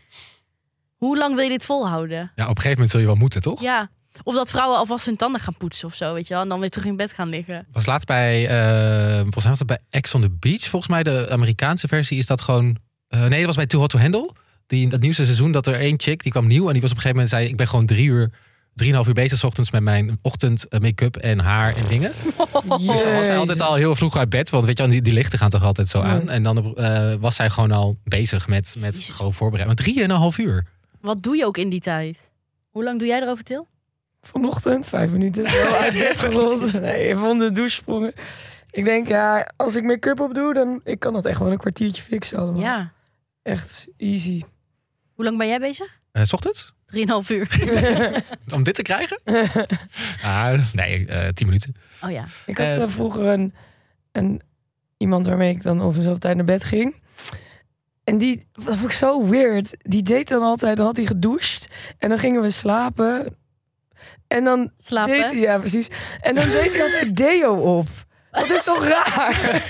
Speaker 2: hoe lang wil je dit volhouden?
Speaker 1: Ja, op een gegeven moment zul je wel moeten, toch?
Speaker 2: Ja. Of dat vrouwen alvast hun tanden gaan poetsen of zo, weet je wel. En dan weer terug in bed gaan liggen.
Speaker 1: was laatst bij, eh, volgens mij was dat bij Ex on the Beach. Volgens mij de Amerikaanse versie is dat gewoon... eh, nee, dat was bij Too Hot to Handle. Die in dat nieuwste seizoen dat er één chick, die kwam nieuw. En die was op een gegeven moment, zei ik ben gewoon drie uur, drieënhalf uur bezig... 's ochtends met mijn ochtend eh, make-up en haar en dingen. Dus dan was zij altijd al heel vroeg uit bed. Want weet je, wel, die, die lichten gaan toch altijd zo aan.
Speaker 3: Ja.
Speaker 1: En dan eh, was zij gewoon al bezig met, met
Speaker 2: Jezus.
Speaker 1: gewoon voorbereiden. Maar drieënhalf uur.
Speaker 2: Wat doe je ook in die tijd? Hoe lang doe jij erover, Til?
Speaker 3: Vanochtend, vijf
Speaker 1: (laughs)
Speaker 3: minuten, zo uit bed
Speaker 2: (laughs)
Speaker 3: gerold. Nee, (laughs) even onder de douche sprongen. Ik denk, ja, als ik make-up op doe, dan ik kan dat echt wel een kwartiertje fixen allemaal.
Speaker 2: Ja.
Speaker 3: Echt easy.
Speaker 2: (laughs)
Speaker 3: (laughs)
Speaker 2: Hoe lang ben jij bezig?
Speaker 1: Eh, 's ochtends?
Speaker 2: Drieënhalf uur. (laughs)
Speaker 1: Om dit te krijgen? ah, nee, eh tien minuten.
Speaker 2: Oh ja.
Speaker 3: Ik had
Speaker 1: Eh,
Speaker 3: eh, vroeger een, een, iemand waarmee ik dan over zoveel tijd naar bed ging. En die, dat vond ik zo weird. Die deed dan altijd, dan had hij gedoucht. En dan gingen we slapen. En dan deed hij,
Speaker 2: Slapen.
Speaker 3: ja precies. En dan deed
Speaker 2: (laughs)
Speaker 3: hij altijd deo op. Dat is toch raar?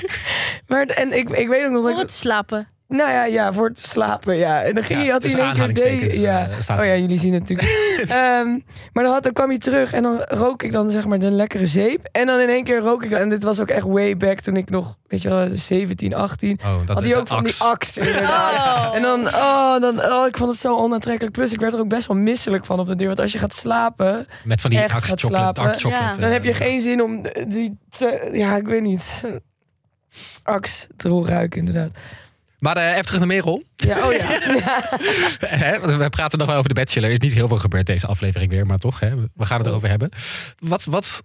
Speaker 3: maar, en ik, ik weet ook nog dat
Speaker 2: Voor
Speaker 3: ik
Speaker 2: het slapen.
Speaker 3: Nou ja, ja, voor het slapen, ja. En dan ging
Speaker 1: Ja,
Speaker 3: je had
Speaker 1: tussen
Speaker 3: hij in één keer...
Speaker 1: aanhalingstekens,
Speaker 3: de- ja.
Speaker 1: eh, staat
Speaker 3: oh ja,
Speaker 1: er.
Speaker 3: jullie zien het
Speaker 1: (laughs)
Speaker 3: natuurlijk. Ehm, maar dan, had, dan kwam hij terug en dan rook ik dan zeg maar de lekkere zeep. En dan in één keer rook ik... En dit was ook echt way back toen ik nog, weet je wel, 17, 18...
Speaker 1: Oh, dat
Speaker 3: had hij
Speaker 1: de
Speaker 3: ook van die
Speaker 1: aks.
Speaker 3: aks, inderdaad. En dan, oh, dan, oh, ik vond het zo onaantrekkelijk. Plus, ik werd er ook best wel misselijk van op de duur. Want als je gaat slapen,
Speaker 1: Met van die
Speaker 3: echt
Speaker 1: aks
Speaker 3: gaat
Speaker 1: chocolate,
Speaker 3: slapen.
Speaker 1: aks chocolate.
Speaker 2: Ja.
Speaker 1: eh,
Speaker 3: dan heb je geen zin om die... te- ja, ik weet niet. Aks te ruiken, inderdaad.
Speaker 1: Maar eh, even terug naar Merel. (laughs)
Speaker 3: Ja, oh ja.
Speaker 1: Hè, want we praten nog wel over de Bachelor. Er is niet heel veel gebeurd deze aflevering weer, maar toch. Hè, we gaan het erover hebben. Wat, wat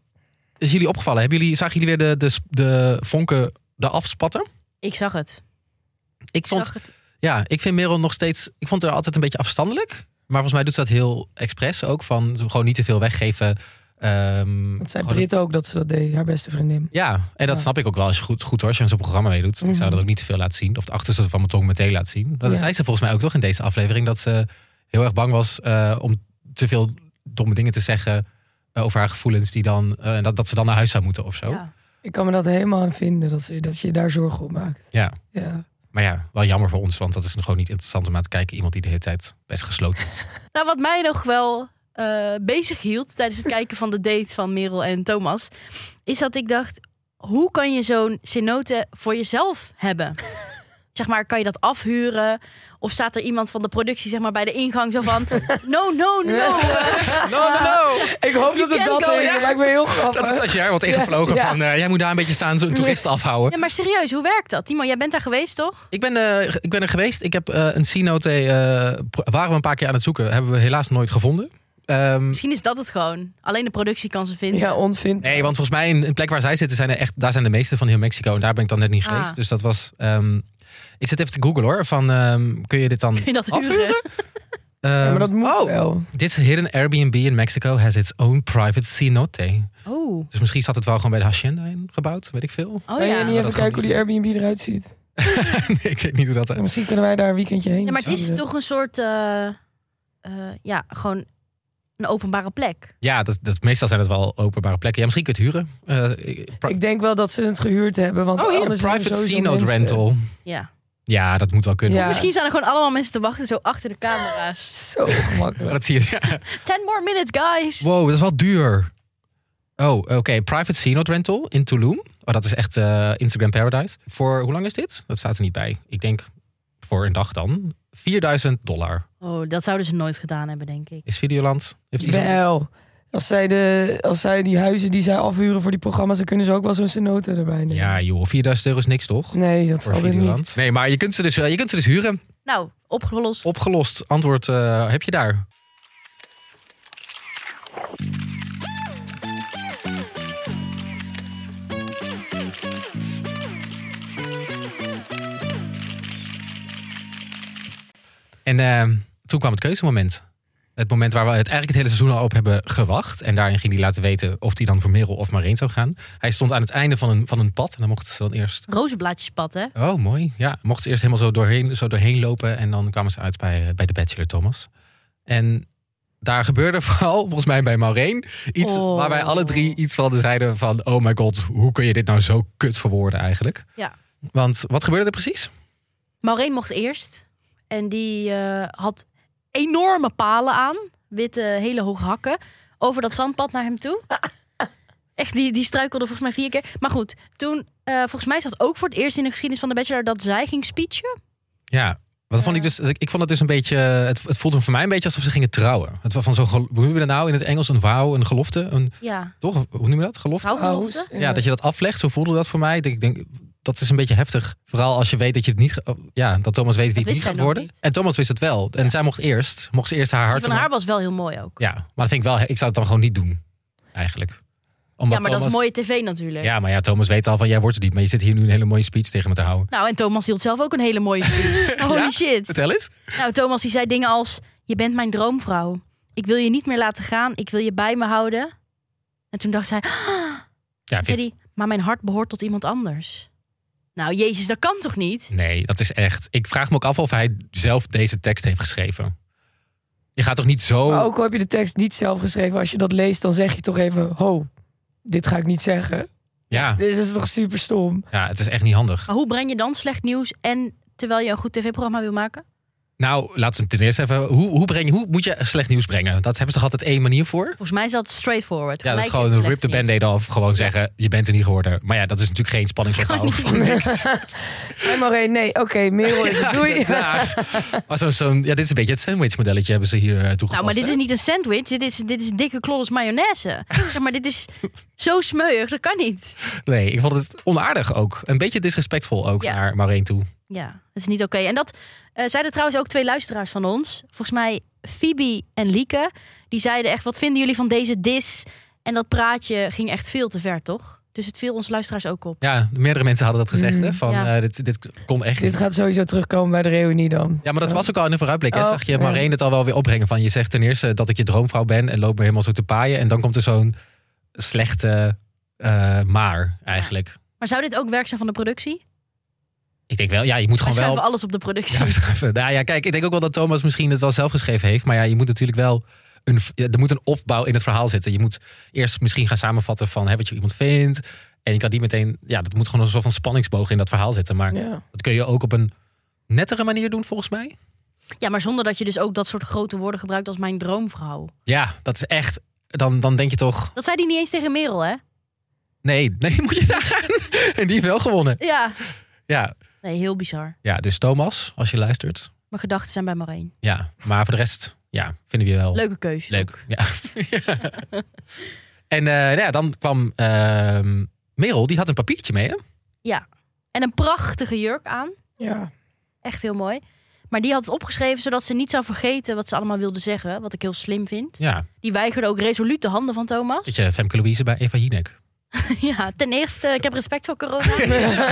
Speaker 1: is jullie opgevallen? Hebben jullie, zagen jullie weer de, de, de vonken de afspatten?
Speaker 2: Ik zag het.
Speaker 1: Ik
Speaker 2: Ik
Speaker 1: vond
Speaker 2: zag het.
Speaker 1: Ja, ik vind Merel nog steeds. Ik vond haar altijd een beetje afstandelijk. Maar volgens mij doet ze dat heel expres ook. Van ze gewoon niet te veel weggeven. Ehm,
Speaker 3: Het zei
Speaker 1: gewoon-
Speaker 3: Brit ook dat ze dat deed, haar beste vriendin.
Speaker 1: Ja, en dat
Speaker 3: Ja.
Speaker 1: snap ik ook wel. Als je goed, goed hoor, als je aan zo'n programma meedoet. Ik zou dat ook niet te veel laten zien. Of de achterste van mijn tong meteen laten zien. Dat
Speaker 3: Ja.
Speaker 1: zei ze volgens mij ook toch in deze aflevering. Dat ze heel erg bang was eh, om te veel domme dingen te zeggen. eh, over haar gevoelens. Die dan, eh, en dat, dat ze dan naar huis zou moeten of zo. Ja.
Speaker 2: Ja.
Speaker 3: Ik kan me dat helemaal aan vinden, dat, ze, dat je daar zorgen om maakt. Ja.
Speaker 1: Maar ja, wel jammer voor ons. Want dat is gewoon niet interessant om aan te kijken. Iemand die de hele tijd best
Speaker 3: (laughs)
Speaker 1: gesloten is.
Speaker 2: Nou, wat mij nog wel eh, bezig hield tijdens het kijken van de date van Merel en Thomas, is dat ik dacht: hoe kan je zo'n cenote voor jezelf hebben? (laughs) zeg maar, kan je dat afhuren? Of staat er iemand van de productie zeg maar, bij de ingang zo
Speaker 3: (laughs)
Speaker 2: van... no, no, no. eh,
Speaker 1: No, no, no.
Speaker 3: Ik hoop dat het
Speaker 2: can't
Speaker 3: dat
Speaker 2: go,
Speaker 3: is.
Speaker 2: ja.
Speaker 3: Dat lijkt me heel
Speaker 1: (laughs) Dat is
Speaker 3: grappig.
Speaker 1: stagiair wordt ingevlogen
Speaker 3: Ja, ja.
Speaker 1: van... eh, jij moet daar een beetje staan, zo'n toerist afhouden.
Speaker 2: (laughs) Ja, maar serieus, hoe werkt dat? Timo, jij bent daar geweest, toch?
Speaker 1: Ik ben, eh, ik ben er geweest. Ik heb eh, een C-note... eh, pro- waren we een paar keer aan het zoeken. Hebben we helaas nooit gevonden. Ehm,
Speaker 2: Misschien is dat het gewoon. Alleen de productie kan ze vinden.
Speaker 3: Ja, onvind.
Speaker 1: nee, want volgens mij in een plek waar zij zitten... Zijn er echt, daar zijn de meeste van heel Mexico. En daar ben ik dan net niet
Speaker 2: Ah.
Speaker 1: geweest. Dus dat was... ehm, ik zit even te googlen hoor. Van, ehm, kun je dit
Speaker 3: (laughs)
Speaker 2: (laughs)
Speaker 1: dan
Speaker 2: Kun je dat
Speaker 1: afhuren?
Speaker 2: huren?
Speaker 3: Ja, maar
Speaker 1: Ehm,
Speaker 3: dat moet
Speaker 1: oh,
Speaker 3: wel.
Speaker 1: This hidden Airbnb in Mexico has its own private cenote.
Speaker 2: Oh,
Speaker 1: Dus misschien zat het wel gewoon bij de hacienda in gebouwd, weet ik veel. (laughs)
Speaker 2: oh
Speaker 3: Kan jij
Speaker 2: ja.
Speaker 3: niet even
Speaker 1: dat kan
Speaker 3: kijken hoe die Airbnb eruit ziet?
Speaker 1: nee, ik weet niet hoe dat... eh,
Speaker 3: Misschien kunnen wij daar een weekendje heen.
Speaker 2: Ja, maar het is
Speaker 3: Sorry.
Speaker 2: toch een soort... eh, eh, ja, gewoon een openbare plek.
Speaker 1: Ja, dat, dat, meestal zijn het wel openbare plekken. Ja, misschien kun je het huren. Eh, ik- pri-
Speaker 3: Ik denk wel dat ze het gehuurd hebben. Want
Speaker 1: oh, hier,
Speaker 3: anders zijn er
Speaker 1: private
Speaker 3: sowieso
Speaker 1: C-note
Speaker 3: mensen.
Speaker 1: rental.
Speaker 2: Ja.
Speaker 1: Ja, dat moet wel kunnen.
Speaker 3: Ja.
Speaker 2: Misschien staan er gewoon allemaal mensen te wachten, zo achter de camera's.
Speaker 3: Zo
Speaker 1: Maar (laughs)
Speaker 3: gemakkelijk.
Speaker 1: (laughs) Dat zie je. ja.
Speaker 2: (laughs) Ten more minutes, guys.
Speaker 1: Wow, dat is wel duur. Oh, oké. Private C-note rental in Tulum. Oh, dat is echt eh, Instagram paradise. Voor hoe lang is dit? Dat staat er niet bij. Ik denk voor een dag dan. 4000 dollar.
Speaker 2: Oh, dat zouden ze nooit gedaan hebben, denk ik.
Speaker 1: Is Videoland? Heeft iets
Speaker 3: Wel. Als zij, de, als zij die huizen die zij afhuren voor die programma's, dan kunnen ze ook wel zo'n cenote erbij nemen.
Speaker 1: Ja, joh. 4000 euro is niks, toch?
Speaker 3: Nee, dat
Speaker 1: Voor
Speaker 3: valt er niet.
Speaker 1: Videoland. Nee, maar je kunt, ze dus, eh, je kunt ze dus huren.
Speaker 2: Nou, opgelost.
Speaker 1: Opgelost. Antwoord eh, heb je daar. En eh, toen kwam het keuzemoment. Het moment waar we het eigenlijk het hele seizoen al op hebben gewacht. En daarin ging hij laten weten of hij dan voor Merel of Marijn zou gaan. Hij stond aan het einde van een, van een pad. En dan mochten ze dan eerst
Speaker 2: Rozenblaadjespad, hè?
Speaker 1: Oh, mooi. Ja, mochten ze eerst helemaal zo doorheen, zo doorheen lopen. En dan kwamen ze uit bij, eh, bij de Bachelor Thomas. En daar gebeurde (laughs) vooral, volgens mij bij Maureen, iets
Speaker 2: Oh.
Speaker 1: waar wij alle drie iets van zeiden van... Oh my god, hoe kun je dit nou zo kut verwoorden eigenlijk?
Speaker 2: Ja.
Speaker 1: Want wat gebeurde er precies?
Speaker 2: Maureen mocht eerst. En die eh, had enorme palen aan. Witte, hele hoge hakken. Over dat zandpad naar hem (laughs) toe. Echt, die, die struikelde volgens mij vier keer. Maar goed, toen... eh, volgens mij zat ook voor het eerst in de geschiedenis van de Bachelor... dat zij ging speechen.
Speaker 1: Ja, wat vond ik
Speaker 2: Ja.
Speaker 1: dus... Ik vond het dus een beetje... Het, het voelde voor mij een beetje alsof ze gingen trouwen. Het was van zo'n... gel- Hoe noem je dat nou in het Engels? Een wauw, een gelofte. Een,
Speaker 2: Ja, oh.
Speaker 1: toch? Hoe noem je dat? Gelofte?
Speaker 2: trouwgelofte.
Speaker 1: Ja, dat je dat aflegt, zo voelde dat voor mij. Ik denk- Ik denk, dat is een beetje heftig. Vooral als je weet dat je het niet. ge- Ja, dat Thomas weet wie
Speaker 2: Dat
Speaker 1: het
Speaker 2: wist
Speaker 1: niet gaat
Speaker 2: hij nog
Speaker 1: worden.
Speaker 2: niet.
Speaker 1: En Thomas wist het wel. En zij mocht eerst, mocht ze eerst haar
Speaker 2: Die
Speaker 1: hart.
Speaker 2: van haar was wel heel mooi ook.
Speaker 1: Ja, maar dat vind ik wel. Ik zou het dan gewoon niet doen, eigenlijk. Omdat
Speaker 2: ja, maar dat is mooie tv natuurlijk.
Speaker 1: Ja, maar ja, Thomas weet al van jij wordt het niet. Maar je zit hier nu een hele mooie speech tegen me te houden.
Speaker 2: Nou, en Thomas hield zelf ook een hele mooie
Speaker 1: (laughs)
Speaker 2: speech. Holy
Speaker 1: Ja?
Speaker 2: shit.
Speaker 1: Vertel eens.
Speaker 2: Nou, Thomas die zei dingen als: Je bent mijn droomvrouw. Ik wil je niet meer laten gaan. Ik wil je bij me houden. En toen dacht zij: "Ah,"
Speaker 1: Ja,
Speaker 2: zei
Speaker 1: vind-
Speaker 2: die, Maar mijn hart behoort tot iemand anders. Nou, Jezus, dat kan toch niet?
Speaker 1: Nee, dat is echt. Ik vraag me ook af of hij zelf deze tekst heeft geschreven. Je gaat toch niet zo.
Speaker 2: Oh.
Speaker 3: Maar ook al heb je de tekst niet zelf geschreven, als je dat leest, dan zeg je toch even: Ho, dit ga ik niet zeggen.
Speaker 1: ja,
Speaker 3: Dit is toch super stom?
Speaker 1: ja, het is echt niet handig.
Speaker 2: Maar hoe breng je dan slecht nieuws en terwijl je een goed tv-programma wil maken?
Speaker 1: Nou, laten we ten eerste even. Hoe, hoe, breng, je- hoe moet je slecht nieuws brengen? Dat hebben ze toch altijd één manier voor?
Speaker 2: Volgens mij is dat straightforward.
Speaker 1: Ja, dat is
Speaker 2: Gelijk
Speaker 1: gewoon
Speaker 2: het
Speaker 1: rip de
Speaker 2: slechte nieuws.
Speaker 1: band-aid af. Gewoon zeggen, je bent er niet geworden. Maar ja, dat is natuurlijk geen spanningsopbouw.
Speaker 2: Kan
Speaker 1: Van
Speaker 2: (laughs)
Speaker 1: niks.
Speaker 3: Hé, Maureen, nee, oké, Merel (laughs) is het. Doei.
Speaker 1: Dag. Maar zo'n- zo'n- ja, dit is een beetje het sandwich modelletje hebben ze hier eh, toegepast.
Speaker 2: Nou, maar dit
Speaker 1: hè?
Speaker 2: is niet een sandwich. Dit is, dit is dikke klodders
Speaker 1: (laughs)
Speaker 2: mayonaise. Zeg maar dit is zo smeuig. Dat kan niet.
Speaker 1: Nee, ik vond het onaardig ook. Een beetje disrespectvol ook
Speaker 2: Ja.
Speaker 1: naar Maureen toe.
Speaker 2: Ja, dat is niet oké. En dat eh, zeiden trouwens ook twee luisteraars van ons. Volgens mij Phoebe en Lieke. Die zeiden echt, wat vinden jullie van deze dis? En dat praatje ging echt veel te ver, toch? Dus het viel ons luisteraars ook op.
Speaker 1: Ja, meerdere mensen hadden dat gezegd. hè, van,
Speaker 2: Mm, ja.
Speaker 1: eh, dit, dit kon echt
Speaker 3: Dit
Speaker 1: niet.
Speaker 3: gaat sowieso terugkomen bij de reunie dan.
Speaker 1: Ja, maar dat was ook al in de vooruitblik. Hè?
Speaker 3: Oh,
Speaker 1: Zag je
Speaker 3: ja.
Speaker 1: Maureen het al wel weer opbrengen. Van, je zegt ten eerste dat ik je droomvrouw ben. En loop me helemaal zo te paaien. En dan komt er zo'n slechte eh, maar eigenlijk.
Speaker 2: Maar zou dit ook werk zijn van de productie?
Speaker 1: Ik denk wel, ja, je moet
Speaker 2: Wij
Speaker 1: gewoon wel...
Speaker 2: schuiven alles op de productie.
Speaker 1: Ja, we schuiven. Nou ja, kijk, ik denk ook wel dat Thomas misschien het wel zelf geschreven heeft. Maar ja, je moet natuurlijk wel. Een, ja, er moet een opbouw in het verhaal zitten. Je moet eerst misschien gaan samenvatten van hè, wat je iemand vindt. En je kan die meteen. Ja, dat moet gewoon een soort van spanningsboog in dat verhaal zitten. Maar
Speaker 3: Ja.
Speaker 1: dat kun je ook op een nettere manier doen, volgens mij.
Speaker 2: Ja, maar zonder dat je dus ook dat soort grote woorden gebruikt als mijn droomvrouw.
Speaker 1: Ja, dat is echt. Dan, dan denk je toch.
Speaker 2: Dat zei die niet eens tegen Merel, hè?
Speaker 1: (laughs) Nee, nee, moet je daar gaan. En die heeft wel gewonnen.
Speaker 2: Ja.
Speaker 1: Ja.
Speaker 2: Nee, heel bizar.
Speaker 1: Ja, dus Thomas, als je luistert.
Speaker 2: Mijn gedachten zijn bij Maureen.
Speaker 1: Ja, maar voor de rest, ja, vinden we je wel
Speaker 2: Leuke keuze.
Speaker 1: leuk. Ja. (laughs) en eh, nou ja, dan kwam ehm, Merel, die had een papiertje mee, hè?
Speaker 2: En een prachtige jurk aan.
Speaker 3: Ja.
Speaker 2: Echt heel mooi. Maar die had het opgeschreven zodat ze niet zou vergeten wat ze allemaal wilde zeggen. Wat ik heel slim vind.
Speaker 1: Ja,
Speaker 2: Die weigerde ook resoluut de handen van Thomas.
Speaker 1: beetje Femke Louise bij Eva Jinek.
Speaker 2: (laughs) Ja, ten eerste, ik heb respect voor
Speaker 1: (laughs)
Speaker 2: corona. (laughs)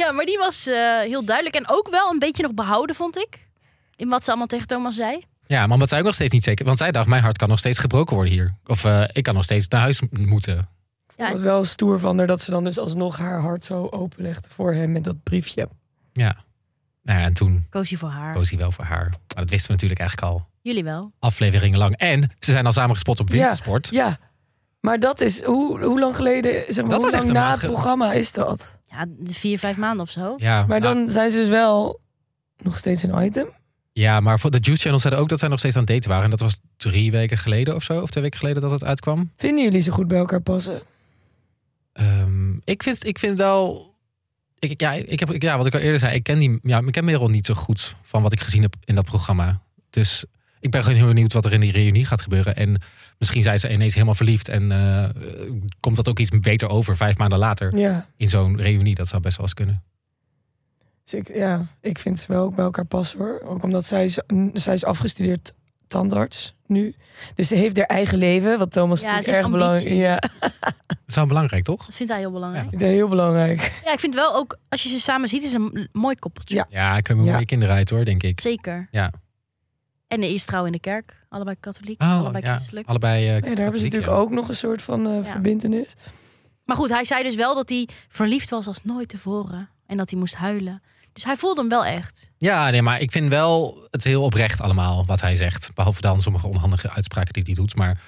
Speaker 2: ja, maar die was eh, heel duidelijk. En ook wel een beetje nog behouden, vond ik. In wat ze allemaal tegen Thomas zei.
Speaker 1: Ja, maar omdat zij ook nog steeds niet zeker... Want zij dacht, mijn hart kan nog steeds gebroken worden hier. Of eh, ik kan nog steeds naar huis m- moeten.
Speaker 2: Ja,
Speaker 3: Het was wel stoer van haar dat ze dan dus alsnog haar hart zo openlegde voor hem met dat briefje.
Speaker 1: Ja. Nou ja, en toen
Speaker 2: koos hij voor haar.
Speaker 1: koos hij wel voor haar. Maar dat wisten we natuurlijk eigenlijk al
Speaker 2: Jullie wel.
Speaker 1: afleveringen lang. En ze zijn al samen gespot op
Speaker 3: Ja.
Speaker 1: wintersport.
Speaker 3: Ja, maar dat is, hoe, hoe lang geleden, zeg maar,
Speaker 1: Dat
Speaker 3: hoe
Speaker 1: was echt
Speaker 3: lang
Speaker 1: een
Speaker 3: na
Speaker 1: maand
Speaker 3: het
Speaker 1: ge-
Speaker 3: programma is dat?
Speaker 2: Ja, vier, vijf maanden of zo.
Speaker 1: Ja,
Speaker 3: Maar
Speaker 1: nou,
Speaker 3: dan zijn ze dus wel nog steeds een item.
Speaker 1: ja, maar voor de Juice Channel zeiden ook dat zij nog steeds aan het daten waren. En dat was drie weken geleden of zo, of twee weken geleden dat het uitkwam.
Speaker 3: Vinden jullie ze goed bij elkaar passen?
Speaker 1: Ehm, ik, vind, ik vind wel... Ik, ja, ik heb, ik- ja, wat ik al eerder zei, ik ken, die, ja, ik ken Merel niet zo goed van wat ik gezien heb in dat programma. Dus ik ben gewoon heel benieuwd wat er in die reunie gaat gebeuren. En misschien zijn ze ineens helemaal verliefd en eh, komt dat ook iets beter over vijf maanden later
Speaker 3: Ja.
Speaker 1: in zo'n reunie. Dat zou best wel eens kunnen.
Speaker 3: Dus ik, ja, ik vind ze wel ook bij elkaar passen hoor. Ook omdat zij is, n- zij is afgestudeerd tandarts nu. Dus ze heeft haar eigen leven, wat Thomas
Speaker 2: Ja,
Speaker 3: natuurlijk
Speaker 2: ze heeft
Speaker 3: erg belangrijk
Speaker 2: ambitie.
Speaker 3: Ja, (laughs) ik
Speaker 1: Dat is wel belangrijk, toch?
Speaker 2: Dat vindt hij heel belangrijk.
Speaker 3: vind dat heel belangrijk.
Speaker 2: Ja, ik vind wel ook, als je ze samen ziet, is het een mooi koppeltje.
Speaker 3: Ja.
Speaker 1: Ja, ik heb mooie
Speaker 3: Ja.
Speaker 1: kinderen uit hoor, denk ik.
Speaker 2: Zeker.
Speaker 1: Ja.
Speaker 2: En de is trouw in de kerk. Allebei katholiek,
Speaker 1: Oh,
Speaker 2: allebei
Speaker 1: ja,
Speaker 2: christelijk.
Speaker 1: allebei. eh,
Speaker 3: Ja, daar hebben
Speaker 1: katholiek,
Speaker 3: ze natuurlijk
Speaker 1: ja.
Speaker 3: ook nog een soort van eh
Speaker 2: Ja.
Speaker 3: verbindenis.
Speaker 2: Maar goed, hij zei dus wel dat hij verliefd was als nooit tevoren. En dat hij moest huilen. Dus hij voelde hem wel echt.
Speaker 1: Ja, nee, maar ik vind wel het heel oprecht allemaal wat hij zegt. Behalve dan sommige onhandige uitspraken die hij doet. Maar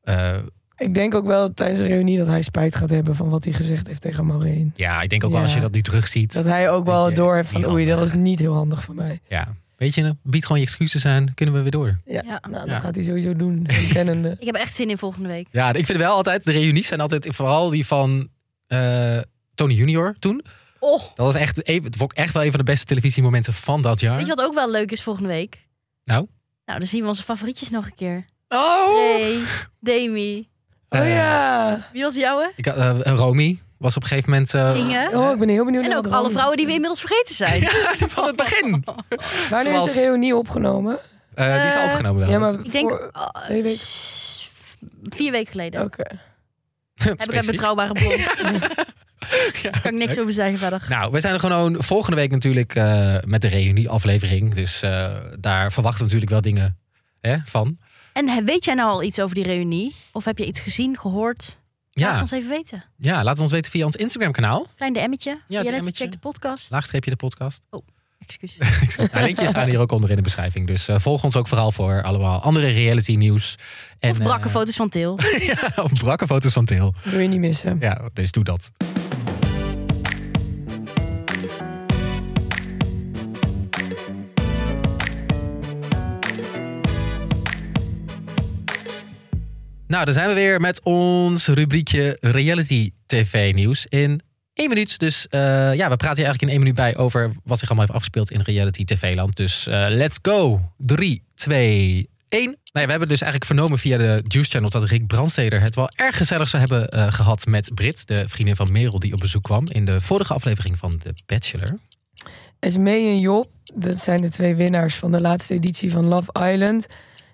Speaker 1: eh,
Speaker 3: Ik denk ook wel tijdens de reunie dat hij spijt gaat hebben van wat hij gezegd heeft tegen Maureen.
Speaker 1: ja, ik denk ook wel
Speaker 3: Ja.
Speaker 1: als je dat nu terugziet.
Speaker 3: Dat hij ook
Speaker 1: Weet
Speaker 3: wel
Speaker 1: je,
Speaker 3: door heeft
Speaker 1: niet
Speaker 3: van oei, dat was
Speaker 1: handig.
Speaker 3: niet heel handig van mij.
Speaker 1: Ja, weet je, bied gewoon je excuses aan. Kunnen we weer door.
Speaker 3: Ja,
Speaker 2: Ja.
Speaker 3: nou, dat
Speaker 1: Ja.
Speaker 3: gaat hij sowieso
Speaker 1: (laughs)
Speaker 3: doen. hem Kennende.
Speaker 2: Ik heb echt zin in volgende week.
Speaker 1: Ja, ik vind wel altijd, de reunies zijn altijd, vooral die van eh, Tony Junior toen.
Speaker 2: Oh,
Speaker 1: Dat was echt, even- dat vond ik echt wel een van de beste televisiemomenten van dat jaar.
Speaker 2: weet je wat ook wel leuk is volgende week?
Speaker 1: Nou?
Speaker 2: Nou, dan zien we onze favorietjes nog een keer.
Speaker 1: Oh!
Speaker 2: Hey, Demi.
Speaker 3: Oh
Speaker 1: Eh,
Speaker 3: ja.
Speaker 2: Wie was jouwe?
Speaker 1: Ik, had, eh, Romy was op een gegeven moment... eh, (laughs)
Speaker 2: Inge.
Speaker 3: Oh, ik ben heel benieuwd
Speaker 2: En
Speaker 3: naar
Speaker 2: ook
Speaker 3: wat
Speaker 2: alle
Speaker 3: Ronald
Speaker 2: vrouwen die we
Speaker 3: doet.
Speaker 2: inmiddels vergeten zijn.
Speaker 1: van het begin.
Speaker 3: Wanneer
Speaker 1: zoals-
Speaker 3: is de reunie opgenomen?
Speaker 1: Eh, die is al
Speaker 2: Eh,
Speaker 1: opgenomen wel. (laughs)
Speaker 3: ja, maar
Speaker 2: Ik denk
Speaker 3: voor-
Speaker 2: ah,
Speaker 3: twee weken-
Speaker 2: s- vier weken geleden.
Speaker 3: Oké.
Speaker 2: Heb ik een
Speaker 1: Specifiek.
Speaker 2: betrouwbare
Speaker 1: (laughs)
Speaker 2: bron.
Speaker 1: Ja,
Speaker 2: kan ik niks
Speaker 1: leuk.
Speaker 2: over zeggen verder.
Speaker 1: Nou, we zijn er gewoon volgende week natuurlijk eh, met de reunie-aflevering. Dus eh, daar verwachten we natuurlijk wel dingen hè, van.
Speaker 2: En hè, weet jij nou al iets over die reunie? Of heb je iets gezien, gehoord? Laat het
Speaker 1: Ja,
Speaker 2: ons even weten.
Speaker 1: ja, laat het ons weten via ons Instagram-kanaal.
Speaker 2: Klein DM'tje. Ja,
Speaker 1: DM'tje.
Speaker 2: check de podcast.
Speaker 1: Laagstreepje de
Speaker 2: (laughs)
Speaker 1: podcast.
Speaker 2: Excuus.
Speaker 1: nou, linkjes staan hier ook onder in de beschrijving. Dus eh, volg ons ook vooral voor allemaal andere reality-nieuws. En,
Speaker 2: Of brakke
Speaker 1: eh,
Speaker 2: foto's van Til.
Speaker 1: (laughs) ja, of brakke foto's van Til.
Speaker 3: Wil je niet missen.
Speaker 1: Ja, dus doe dat. Nou, dan zijn we weer met ons rubriekje Reality TV Nieuws in één minuut. Dus eh, ja, we praten hier eigenlijk in één minuut bij over wat zich allemaal heeft afgespeeld in Reality TV Land. Dus eh, let's go. 3, 2, 1. Nou ja, we hebben dus eigenlijk vernomen via de Juice Channel dat Rick Brandsteder het wel erg gezellig zou hebben eh, gehad met Brit, de vriendin van Merel die op bezoek kwam in de vorige aflevering van The Bachelor.
Speaker 3: Esmee en Job, dat zijn de twee winnaars van de laatste editie van Love Island.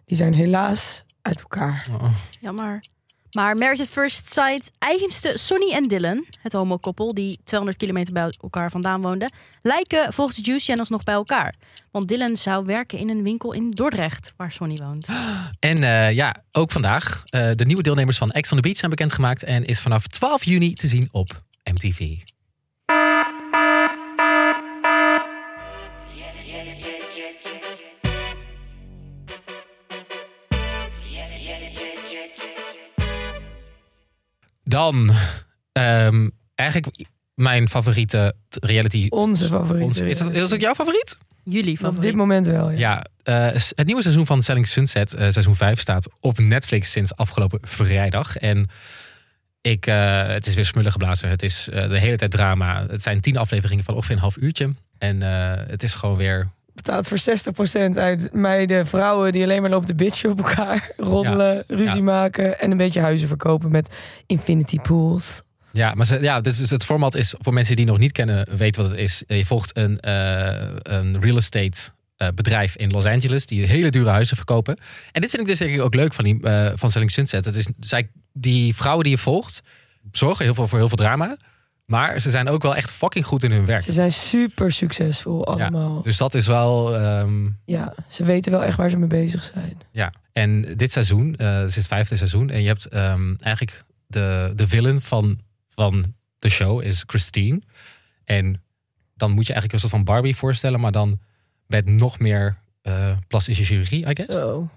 Speaker 3: Die zijn helaas uit elkaar.
Speaker 1: Oh.
Speaker 2: Jammer. Maar Married at First Sight, eigenste Sonny en Dylan, het homokoppel die 200 kilometer bij elkaar vandaan woonden, lijken volgens de Juice Channels nog bij elkaar. Want Dylan zou werken in een winkel in Dordrecht, waar Sonny woont.
Speaker 1: En eh, ja, ook vandaag. eh, de nieuwe deelnemers van Ex on the Beach zijn bekendgemaakt en is vanaf 12 juni te zien op MTV. Dan ehm, eigenlijk mijn favoriete reality.
Speaker 3: Onze favoriete.
Speaker 1: Ons, is, dat, is dat ook jouw favoriet?
Speaker 2: Jullie van
Speaker 3: Op dit moment wel, ja.
Speaker 1: Ja, eh, s- het nieuwe seizoen van Selling Sunset, eh, seizoen 5, staat op Netflix sinds afgelopen vrijdag. En Ik, eh, het is weer smullen geblazen. Het is eh, de hele tijd drama. Het zijn tien afleveringen van ongeveer een half uurtje. En eh, het is gewoon weer
Speaker 3: Betaalt voor 60% uit meiden, vrouwen die alleen maar lopen te bitchen op elkaar. (laughs) Roddelen, ruzie
Speaker 1: ja.
Speaker 3: maken en een beetje huizen verkopen met infinity pools.
Speaker 1: Ja, maar ze, ja, dus dus het format is voor mensen die nog niet kennen, weten wat het is. Je volgt een, eh, een real estate eh, bedrijf in Los Angeles die hele dure huizen verkopen. En dit vind ik dus denk ik ook leuk van, die, eh, van Selling Sunset. Het is, zij, die vrouwen die je volgt, zorgen heel veel voor heel veel drama. Maar ze zijn ook wel echt fucking goed in hun werk.
Speaker 3: Ze zijn super succesvol allemaal. Ja,
Speaker 1: Dus dat is wel. ehm,
Speaker 3: ze weten wel echt waar ze mee bezig zijn.
Speaker 1: Ja, en dit seizoen, eh het is het vijfde seizoen. En je hebt ehm, eigenlijk de, de villain van, van de show is Christine. En dan moet je eigenlijk een soort van Barbie voorstellen, maar dan met nog meer eh plastische chirurgie, I guess. (laughs)
Speaker 3: Zo.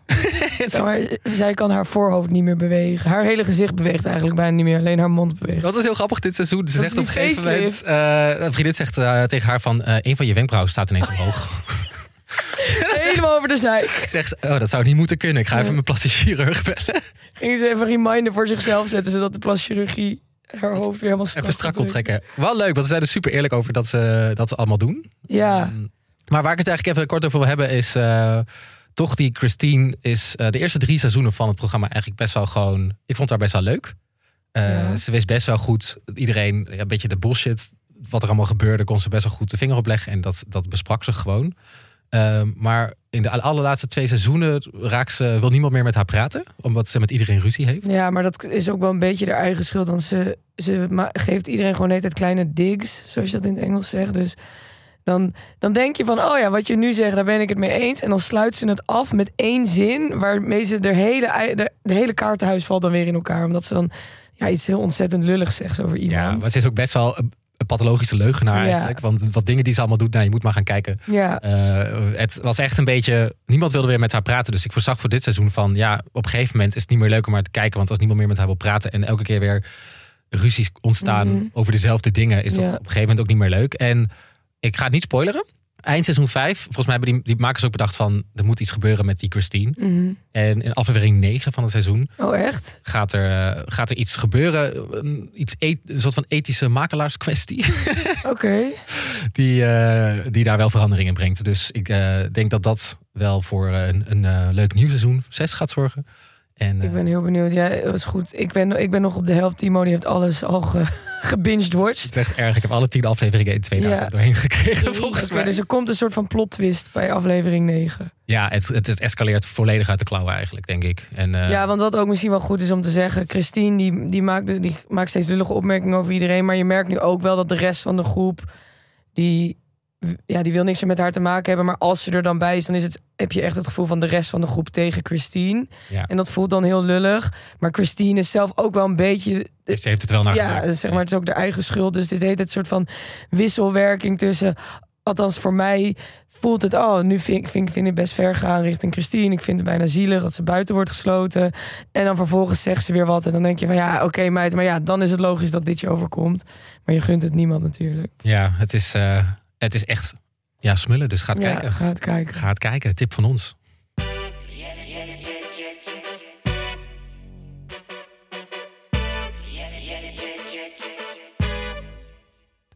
Speaker 3: Zeg maar, zij kan haar voorhoofd niet meer bewegen. Haar hele gezicht beweegt eigenlijk bijna niet meer. Alleen haar mond
Speaker 1: (laughs)
Speaker 3: beweegt.
Speaker 1: Dat is heel grappig dit seizoen. Ze zegt
Speaker 3: Dat is
Speaker 1: op een
Speaker 3: die
Speaker 1: gegeven moment, eh, een vriendin zegt eh, tegen haar van, eh, een van je wenkbrauwen staat ineens omhoog.
Speaker 3: (laughs) Helemaal over de zij.
Speaker 1: Zegt ze, oh, dat zou niet moeten kunnen. Ik ga even
Speaker 3: Nee.
Speaker 1: mijn plastisch chirurg
Speaker 3: (laughs)
Speaker 1: bellen.
Speaker 3: Ging ze even een reminder voor zichzelf zetten. Zodat de plaschirurgie haar hoofd weer helemaal strak,
Speaker 1: Even strak
Speaker 3: kan trekken.
Speaker 1: onttrekken. Wel leuk, want ze zijn er super eerlijk over dat ze dat ze allemaal doen.
Speaker 3: Ja,
Speaker 1: Ehm, Maar waar ik het eigenlijk even kort over wil hebben is... eh, toch die Christine is eh, de eerste drie seizoenen van het programma eigenlijk best wel gewoon... Ik vond haar best wel leuk. Eh,
Speaker 3: Ja.
Speaker 1: Ze wist best wel goed iedereen ja, een beetje de bullshit... wat er allemaal gebeurde, kon ze best wel goed de vinger op leggen. En dat, dat besprak ze gewoon. Ehm, maar in de allerlaatste twee seizoenen raakt ze, wil niemand meer met haar praten. Omdat ze met iedereen ruzie heeft.
Speaker 3: ja, maar dat is ook wel een beetje haar eigen schuld. Want ze, ze ma- geeft iedereen gewoon de hele tijd kleine digs. Zoals je dat in het Engels zegt. Dus dan, dan denk je van, oh ja, wat je nu zegt, daar ben ik het mee eens. En dan sluit ze het af met één zin. Waarmee ze de hele, ei- de, de hele kaartenhuis valt dan weer in elkaar. Omdat ze dan ja, iets heel ontzettend lulligs zegt over
Speaker 1: Ja,
Speaker 3: iemand.
Speaker 1: maar ze is ook best wel een, een pathologische leugenaar
Speaker 3: Ja.
Speaker 1: eigenlijk. Want wat dingen die ze allemaal doet, nou, je moet maar gaan kijken...
Speaker 3: ja.
Speaker 1: Eh, het was echt een beetje. Niemand wilde weer met haar praten. Dus ik voorzag voor dit seizoen van. Ja, op een gegeven moment is het niet meer leuk om haar te kijken. Want als niemand meer met haar wil praten. en elke keer weer ruzies ontstaan
Speaker 3: Mhm.
Speaker 1: over dezelfde dingen. is dat
Speaker 3: Ja.
Speaker 1: op een gegeven moment ook niet meer leuk. En ik ga het niet spoileren. Eind seizoen 5, volgens mij hebben die, die makers ook bedacht van. er moet iets gebeuren met die Christine.
Speaker 3: mhm.
Speaker 1: En in aflevering 9 van het seizoen
Speaker 3: Oh,
Speaker 1: (laughs)
Speaker 3: echt?
Speaker 1: gaat er, eh, gaat er iets gebeuren. Een, iets e- een soort van ethische makelaarskwestie
Speaker 3: Oké.
Speaker 1: die, eh, die daar wel verandering in brengt. Dus ik eh, denk dat dat wel voor eh, een, een eh, leuk nieuw seizoen 6 gaat zorgen. En, eh,
Speaker 3: Ik ben heel benieuwd. Ja, dat is goed. Ik ben, ik ben nog op de helft. Timo die heeft alles al ge, (laughs) gebinged-watched.
Speaker 1: het is echt erg. Ik heb alle tien afleveringen in twee
Speaker 3: Ja.
Speaker 1: dagen doorheen gekregen,
Speaker 2: Jezus.
Speaker 1: volgens
Speaker 3: Oké,
Speaker 1: mij.
Speaker 3: dus er komt een soort van plot twist bij aflevering 9.
Speaker 1: Ja, het, het, het escaleert volledig uit de klauwen eigenlijk, denk ik. En, eh,
Speaker 3: Ja, want wat ook misschien wel goed is om te zeggen... Christine die, die, maakt, die maakt steeds lullige opmerkingen over iedereen... maar je merkt nu ook wel dat de rest van de groep... die, ja, die wil niks meer met haar te maken hebben... maar als ze er dan bij is, dan is het, heb je echt het gevoel... van de rest van de groep tegen Christine.
Speaker 1: Ja.
Speaker 3: En dat voelt dan heel lullig. Maar Christine is zelf ook wel een beetje...
Speaker 1: ze heeft het wel naar
Speaker 3: Ja,
Speaker 1: gemaakt.
Speaker 3: dus zeg maar, het is ook de eigen schuld. Dus dit heet het soort van wisselwerking tussen. Althans, voor mij voelt het. Oh, nu vind ik, vind, ik- vind ik best ver gaan richting Christine. Ik vind het bijna zielig dat ze buiten wordt gesloten. En dan vervolgens zegt ze weer wat. En dan denk je van ja, oké, meid. Maar ja, dan is het logisch dat dit je overkomt. Maar je gunt het niemand natuurlijk.
Speaker 1: Ja, het is, eh, het is echt ja, smullen. Dus gaat
Speaker 3: ja,
Speaker 1: kijken.
Speaker 3: Ga het kijken.
Speaker 1: Gaat kijken. Tip van ons.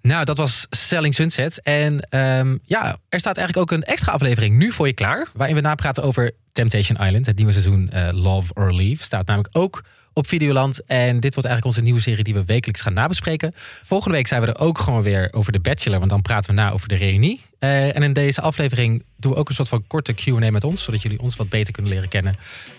Speaker 1: Nou, dat was Selling Sunset. En ehm, ja, er staat eigenlijk ook een extra aflevering nu voor je klaar. Waarin we napraten over Temptation Island. Het nieuwe seizoen eh, Love or Leave staat namelijk ook op Videoland. En dit wordt eigenlijk onze nieuwe serie die we wekelijks gaan nabespreken. Volgende week zijn we er ook gewoon weer over The Bachelor. Want dan praten we na over de reunie. Eh, en in deze aflevering doen we ook een soort van korte Q&A met ons. Zodat jullie ons wat beter kunnen leren kennen.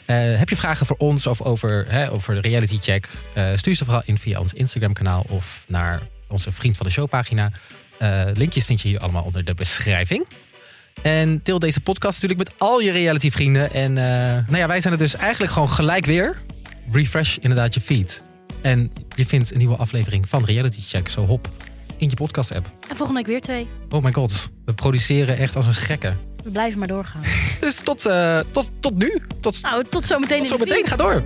Speaker 1: Eh, heb je vragen voor ons of over, hè, over de reality check? eh, stuur ze vooral in via ons Instagram kanaal of naar onze Vriend van de Show pagina. Eh, linkjes vind je hier allemaal onder de beschrijving. En deel deze podcast natuurlijk met al je reality vrienden. En eh, nou ja, wij zijn er dus eigenlijk gewoon gelijk weer. Refresh inderdaad je feed. En je vindt een nieuwe aflevering van Reality Check, zo hop, in je podcast app.
Speaker 2: En volgende week weer twee.
Speaker 1: Oh my god, we produceren echt als een gekke.
Speaker 2: We blijven maar doorgaan.
Speaker 1: Dus tot, eh, tot, tot nu. Tot,
Speaker 2: Nou, tot zometeen
Speaker 1: tot
Speaker 2: in de
Speaker 1: zometeen,
Speaker 2: vriend.
Speaker 1: ga door.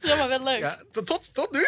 Speaker 2: Ja, maar wel leuk.
Speaker 1: Ja, tot, tot nu.